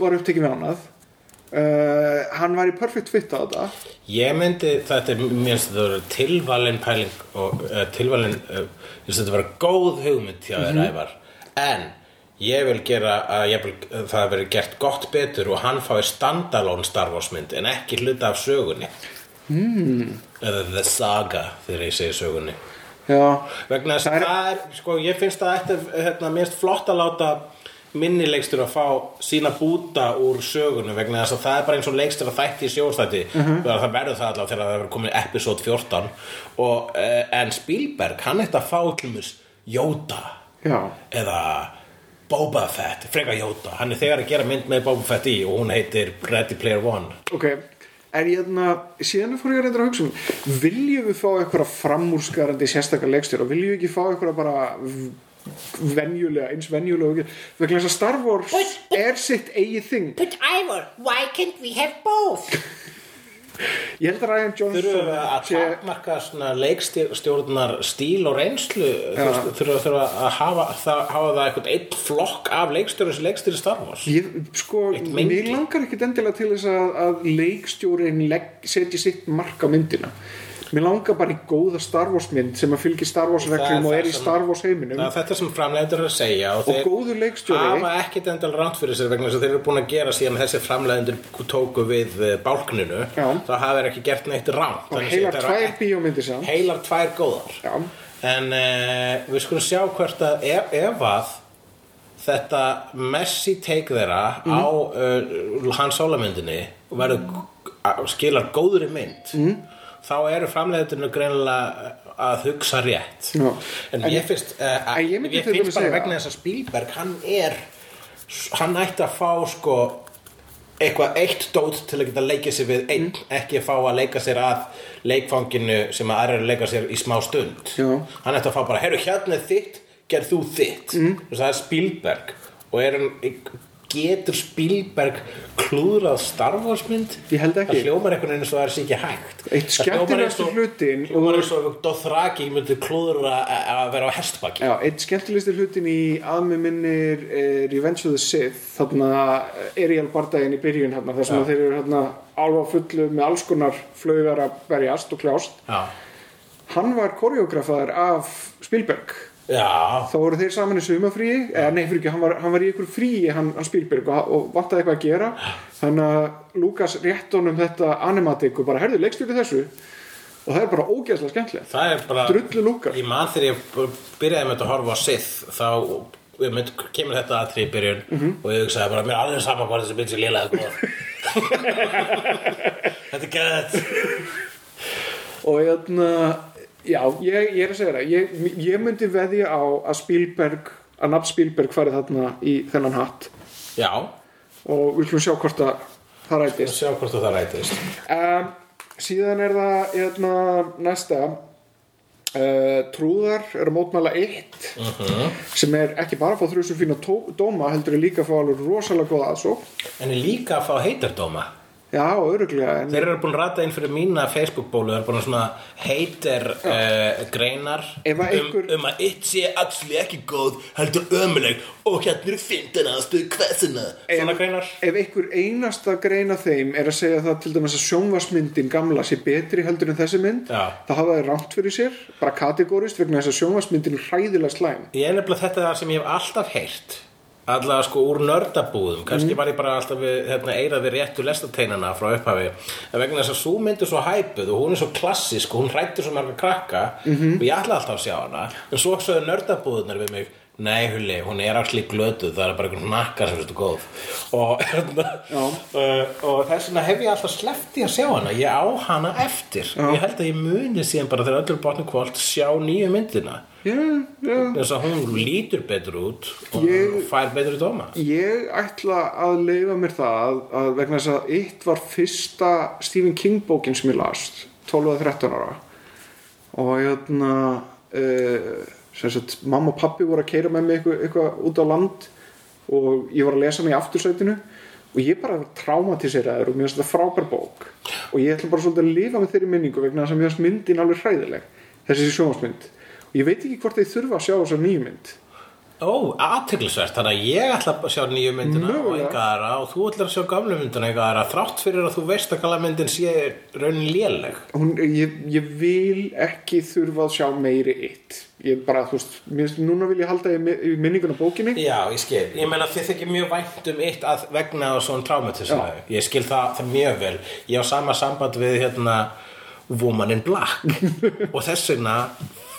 [SPEAKER 3] var upptekið með annað uh, Hann var í perfect fit á þetta
[SPEAKER 4] Ég myndi, þetta er mér finnst þetta vera tilvalin pæling og uh, tilvalin, uh, ég finnst þetta vera góð hugmynd hjá þér ævar en ég vil gera að ég vil, það veri gert gott betur og hann fái standalone Star Wars mynd en ekki hluta af sögunni mm. eða the saga þegar ég segi sögunni
[SPEAKER 3] Já,
[SPEAKER 4] vegna þess
[SPEAKER 3] Það
[SPEAKER 4] að
[SPEAKER 3] er-
[SPEAKER 4] það er, sko, ég finnst það eftir, hérna, mér finnst flott að láta minni leikstur að fá sína búta úr sögunu vegna þess að það er bara eins og leikstur að þætti í sjóðstætti
[SPEAKER 3] Mhm.
[SPEAKER 4] það verður það eh, allavega þegar það verður komin episode 14 og, uh, en Spielberg, hann eftir að fá tlumis Jóta
[SPEAKER 3] Já.
[SPEAKER 4] eða Boba Fett, frekar Jóta hann er þegar að gera mynd með Boba Fett í og hún heitir Ready Player One
[SPEAKER 3] Ok, en ég hérna, síðan fór ég að reynda að hugsa um, viljum við fá eitthvað framúrskarandi sérstakar leikstjóra, viljum við ekki fá eitthvað bara v- venjulega, eins venjulega og ekki, vegna þess að Star Wars er sitt eigið þing.
[SPEAKER 6] But Ivor, why can't we have both?
[SPEAKER 3] Ég held að Ryan
[SPEAKER 4] Þurfum
[SPEAKER 3] Johnson
[SPEAKER 4] við að
[SPEAKER 3] sé,
[SPEAKER 4] takmarka svona leikstjórnar stíl og reynslu Þú- þurfum við að hafa það, hafa það eitthvað eitt flokk af leikstjórnum sem leikstjórn Star Wars
[SPEAKER 3] ég, sko,
[SPEAKER 4] Eitt mengi.
[SPEAKER 3] mér langar ekkit endilega til þess að, að leikstjórin legg, setji sitt mark á myndina. Mér langar bara í góða Star Wars mynd sem að fylgi Star Wars reglum
[SPEAKER 4] það
[SPEAKER 3] og er í
[SPEAKER 4] sem-
[SPEAKER 3] Star Wars heiminum.
[SPEAKER 4] Það er þetta sem framleiðendur eru að segja og,
[SPEAKER 3] Og
[SPEAKER 4] þeir
[SPEAKER 3] góður leikstjóri.
[SPEAKER 4] hafa ekkit endal ránt fyrir sér vegna þess að þeir eru búin að gera síðan þessi framleiðendur tóku við eh, bálkninu
[SPEAKER 3] Já.
[SPEAKER 4] þá hafa þeir ekki gert neitt ránt
[SPEAKER 3] og heilar tvær bíómyndir saman.
[SPEAKER 4] heilar tvær góðar
[SPEAKER 3] Já.
[SPEAKER 4] en uh, við skulum sjá hvert að ef, ef að þetta Messi take þeirra á uh, hans álamyndinni og verður g- skilar góðri mynd mm. þá eru framleiðinu greinilega að hugsa rétt
[SPEAKER 3] Já.
[SPEAKER 4] en,
[SPEAKER 3] En
[SPEAKER 4] ég finnst uh,
[SPEAKER 3] En ég
[SPEAKER 4] ég,
[SPEAKER 3] myndi til dæmis
[SPEAKER 4] finnst bara
[SPEAKER 3] segja-
[SPEAKER 4] vegna þess að Spielberg hann er hann ætti að fá sko eitthvað eitt dót til að geta leikið sér við einn
[SPEAKER 3] Mm.
[SPEAKER 4] ekki fá að leika sér að leikfanginu sem að aðra leika sér í smá stund
[SPEAKER 3] Já.
[SPEAKER 4] hann ætti að fá bara, herru hérna er þitt gerð þú þitt mm. það er Spielberg og er hann getur Spielberg klúðrað Star Wars mynd
[SPEAKER 3] Ég held ekki.
[SPEAKER 4] það hljómar einhvern veginn eins og það er sér ekki hægt
[SPEAKER 3] Eitt
[SPEAKER 4] Það hljómar eins og-
[SPEAKER 3] skemmtilegasti hlutinn-
[SPEAKER 4] hljómar eins og Dothraki myndi klúðra að- að vera á hestbaki
[SPEAKER 3] Já, eitt skemmtilegsti hlutin í aðmi minnir eh, Revenge of the Sith þarna Ariel bardaginn í byrjun þarna, þar sem að þeir eru þarna alveg á fullu með alls konar flaugar að berjast og kljást
[SPEAKER 4] Já.
[SPEAKER 3] hann var koreografaður af Spielberg
[SPEAKER 4] Já,
[SPEAKER 3] þá voru þeir saman í sumafríi eða nei fyrir ekki, hann var, hann var í ykkur fríi hann, hann Spielberg og, og vantaði eitthvað að gera þannig að Lucas rétt honum þetta animatik og bara herðu leikstjóri þessu og það er bara ógeðslega skemmtilegt
[SPEAKER 4] það er bara
[SPEAKER 3] Drullu lúkar.
[SPEAKER 4] Ég man þegar ég byrjaði með þetta að horfa á Sith þá ég mynd, kemur þetta aðtrið í byrjun
[SPEAKER 3] Mhm.
[SPEAKER 4] og ég hugsaði bara, mér er alveg saman bara þessi mynd sem lélega góð Þetta er gæðið
[SPEAKER 3] og hérna já, ég, ég er að segja það ég, ég myndi veðja á að Spielberg að nafn Spielberg farið þarna í þennan hatt
[SPEAKER 4] Já,
[SPEAKER 3] og við hlum sjá hvort að það
[SPEAKER 4] við
[SPEAKER 3] rætist
[SPEAKER 4] sjá hvort að það rætist
[SPEAKER 3] um, síðan er það hérna, næsta uh, trúðar er að mótmæla eitt sem er ekki bara að fá þrjusum fína tó- dóma heldur er líka að fá alveg rosalega góða aðsók
[SPEAKER 4] En er líka að fá heitardóma
[SPEAKER 3] já, öruglega en,
[SPEAKER 4] Þeir eru búin að rata inn fyrir mína Facebook-bólu Þeir eru búin að svona heitir uh, greinar
[SPEAKER 3] Ef að
[SPEAKER 4] um,
[SPEAKER 3] einhver-
[SPEAKER 4] um að eitt sé allir ekki góð heldur ömuleg og hérna eru fyndina aðstöðu hversina Svona greinar
[SPEAKER 3] ef einhver einasta greina þeim er að segja það til dæmis að sjónvarsmyndin gamla sé betri heldur en þessi mynd
[SPEAKER 4] Já.
[SPEAKER 3] þá hafa þeir rámt fyrir sér, bara kategórist vegna þess að sjónvarsmyndin er hræðilega slæm
[SPEAKER 4] Ég er nefnilega þetta það sem ég hef alltaf heyrt allavega sko úr nördabúðum kannski var ég bara alltaf við, hérna, eirað við réttu lestateinana frá upphafi en vegna þess að svo myndi svo hæpuð og hún er svo klassisk og hún hrættur svo marga krakka og ég ætla alltaf að sjá hana en svo sögðu nördabúðunar við mig nei hulli, hún er allir glötuð það er bara einhvern nakkar sem þetta góð og, hérna, uh, og þess vegna hef ég alltaf sleppt í að sjá hana ég á hana eftir ég held að ég muni síðan bara þegar öllur botnum kvöld sjá nýju myndina
[SPEAKER 3] já, já.
[SPEAKER 4] þess að hún lítur betur út og
[SPEAKER 3] Ég-
[SPEAKER 4] fær betur dóma
[SPEAKER 3] ég ætla að leifa mér það að vegna þess að eitt var fyrsta Stephen King bókin sem ég las 12 að 13 ára og hérna uh, sem sagt, mamma og pappi voru að keira með mig eitthvað, eitthvað út á land og ég var að lesa hana í aftursætinu og ég bara traumatiserar og mér finnst þetta frábær bók og ég ætla bara svolítið að lifa með þeirri minningu vegna þess að mér finnst myndin alveg hræðileg þessi sjónvarsmynd og ég veit ekki hvort þeir þurfa að sjá þessa nýju mynd
[SPEAKER 4] Ó, aðteglisvert, þannig að ég ætla að sjá nýju myndina og
[SPEAKER 3] Mögulega.
[SPEAKER 4] enga aðra og þú ætlar að sjá gamlu myndina og enga aðra þrátt fyrir að þú veist að gamla myndin sé raunin léleg
[SPEAKER 3] hún, ég, ég vil ekki þurfa að sjá meiri eitt ég bara, þú veist, mér, finnst- núna vil ég halda í, mi- í minninguna bókinni
[SPEAKER 4] Já, ég skil, ég meina þið þykir mjög vænt um eitt að vegna á svona traumatismu ég skil það, það mjög vel ég á sama samband við hérna Woman in Black og þess vegna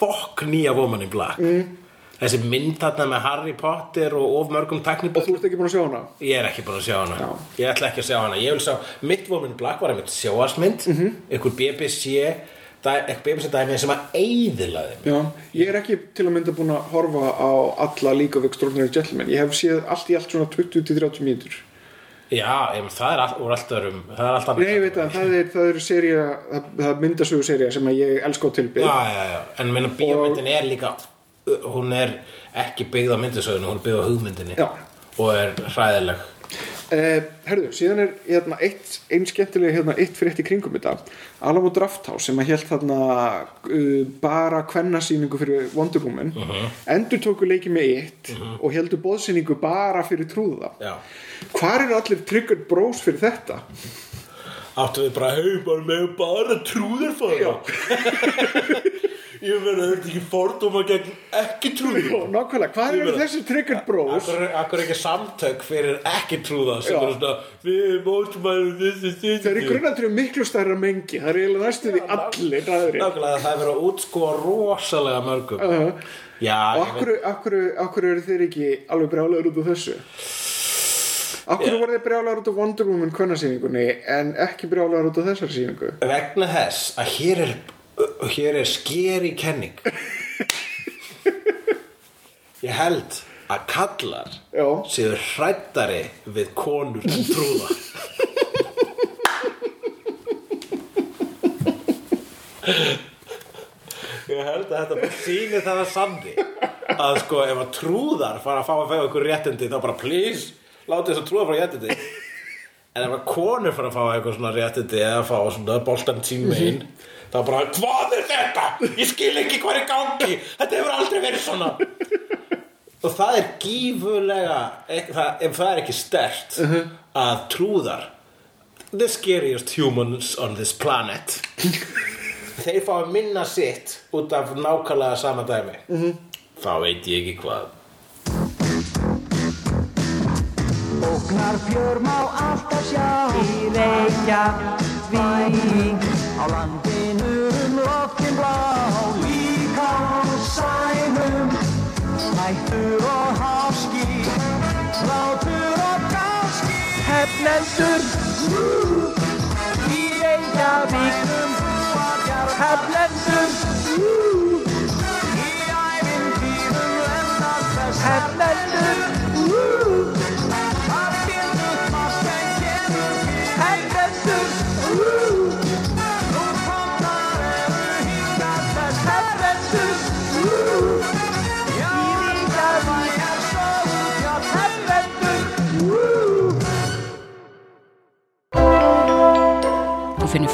[SPEAKER 4] fokk nýja Woman in Black
[SPEAKER 3] Mm.
[SPEAKER 4] þessi mynd þarna með Harry Potter og of mörgum
[SPEAKER 3] og
[SPEAKER 4] tekniböld
[SPEAKER 3] þú ert ekki búin að sjá hana
[SPEAKER 4] Ég er ekki búin að sjá hana Ég
[SPEAKER 3] Mhm.
[SPEAKER 4] ætla ekki að sjá hana Ég vil sjá, mitt Woman in Black var einmitt sjóarsmynd mm -hmm. ykkur BBC BBC-dæmi sem að eyðilaði mig.
[SPEAKER 3] Já, ég er ekki til að mynda búin að horfa á alla líka við Extraordinary Gentlemen ég hef séð allt í allt svona 20-30 mínútur
[SPEAKER 4] Já, em, það er all, úr allt örum Það er allt annað
[SPEAKER 3] Nei, ég veit að það er, það er seria, það, það myndasögu seria sem að ég elska á tilbyð
[SPEAKER 4] Já, já, já, en minna bíómyndin er líka hún er ekki byggð á myndisöðinu hún er byggð á hugmyndinni
[SPEAKER 3] Já.
[SPEAKER 4] og er hræðileg
[SPEAKER 3] Eh, herðu, síðan er hérna, eitt, einn skemmtilega hérna, eitt frétt í kringum þetta Alamo Drafthouse sem að hélt þarna uh, bara kvennasýningu fyrir Wonder Woman
[SPEAKER 4] Uh-huh.
[SPEAKER 3] endur tóku leikið með eitt og heldur bóðsýningu bara fyrir trúða
[SPEAKER 4] Já.
[SPEAKER 3] Hvar eru allir triggered bros fyrir þetta?
[SPEAKER 4] Áttu við bara, hei, bara með bara trúðar fara Ég verður þetta ekki fordóma gegn ekki
[SPEAKER 3] Og
[SPEAKER 4] trúðar
[SPEAKER 3] nákvæmlega, hvar eru
[SPEAKER 4] meina-
[SPEAKER 3] þessir triggered bros?
[SPEAKER 4] Akkur, akkur ekki samtök fyrir ekki trúða sem
[SPEAKER 3] Já.
[SPEAKER 4] eru svona, við mótmælum þessi
[SPEAKER 3] Þeir eru í grunnatrið miklu stærra mengi það eru eiginlega næstu því allir aðrir
[SPEAKER 4] Nákvæmlega það er verið að útskúa rosalega mörgum
[SPEAKER 3] Uh-huh.
[SPEAKER 4] Já,
[SPEAKER 3] Og
[SPEAKER 4] ég
[SPEAKER 3] akkur, akkur, akkur eru þeir ekki alveg brjálaður út úr þessu? Akkur
[SPEAKER 4] Já.
[SPEAKER 3] voru þeir brjálaður út úr Wonder Woman kvennasýningunni en ekki brjálaður út úr þessari sýningu?
[SPEAKER 4] vegna þess að hér er hér er skeri kenning ég held að kallar
[SPEAKER 3] Já.
[SPEAKER 4] séu hrættari við konur en trúða ég held að þetta bara sýni það að sandi að sko ef að trúðar fara að fá að fæða ykkur réttindi þá bara please láti þess að trúða frá réttindi En ef að konur fara að fá eitthvað svona réttindi eða fá svona boltan tímein þá bara, hvað er þetta? Ég skil ekki hvað er í gangi Þetta hefur aldrei verið svona Og það er gífulega e- það- ef það er ekki stert að trúðar the scariest humans on this planet þeir fá að minna sitt út af nákvæmlega sama dæmi -hmm. þá veit ég ekki hvað
[SPEAKER 7] Ógnar fjör má alltaf sjá Í reykja vík Á landinu um loftin blá Líka á sænum Hættur og háski Látur og gáski Hefnendur Í reykja víkum Hefnendur Í ævintýrum lennast þess Hefnendur Hefnendur
[SPEAKER 1] Þú finnir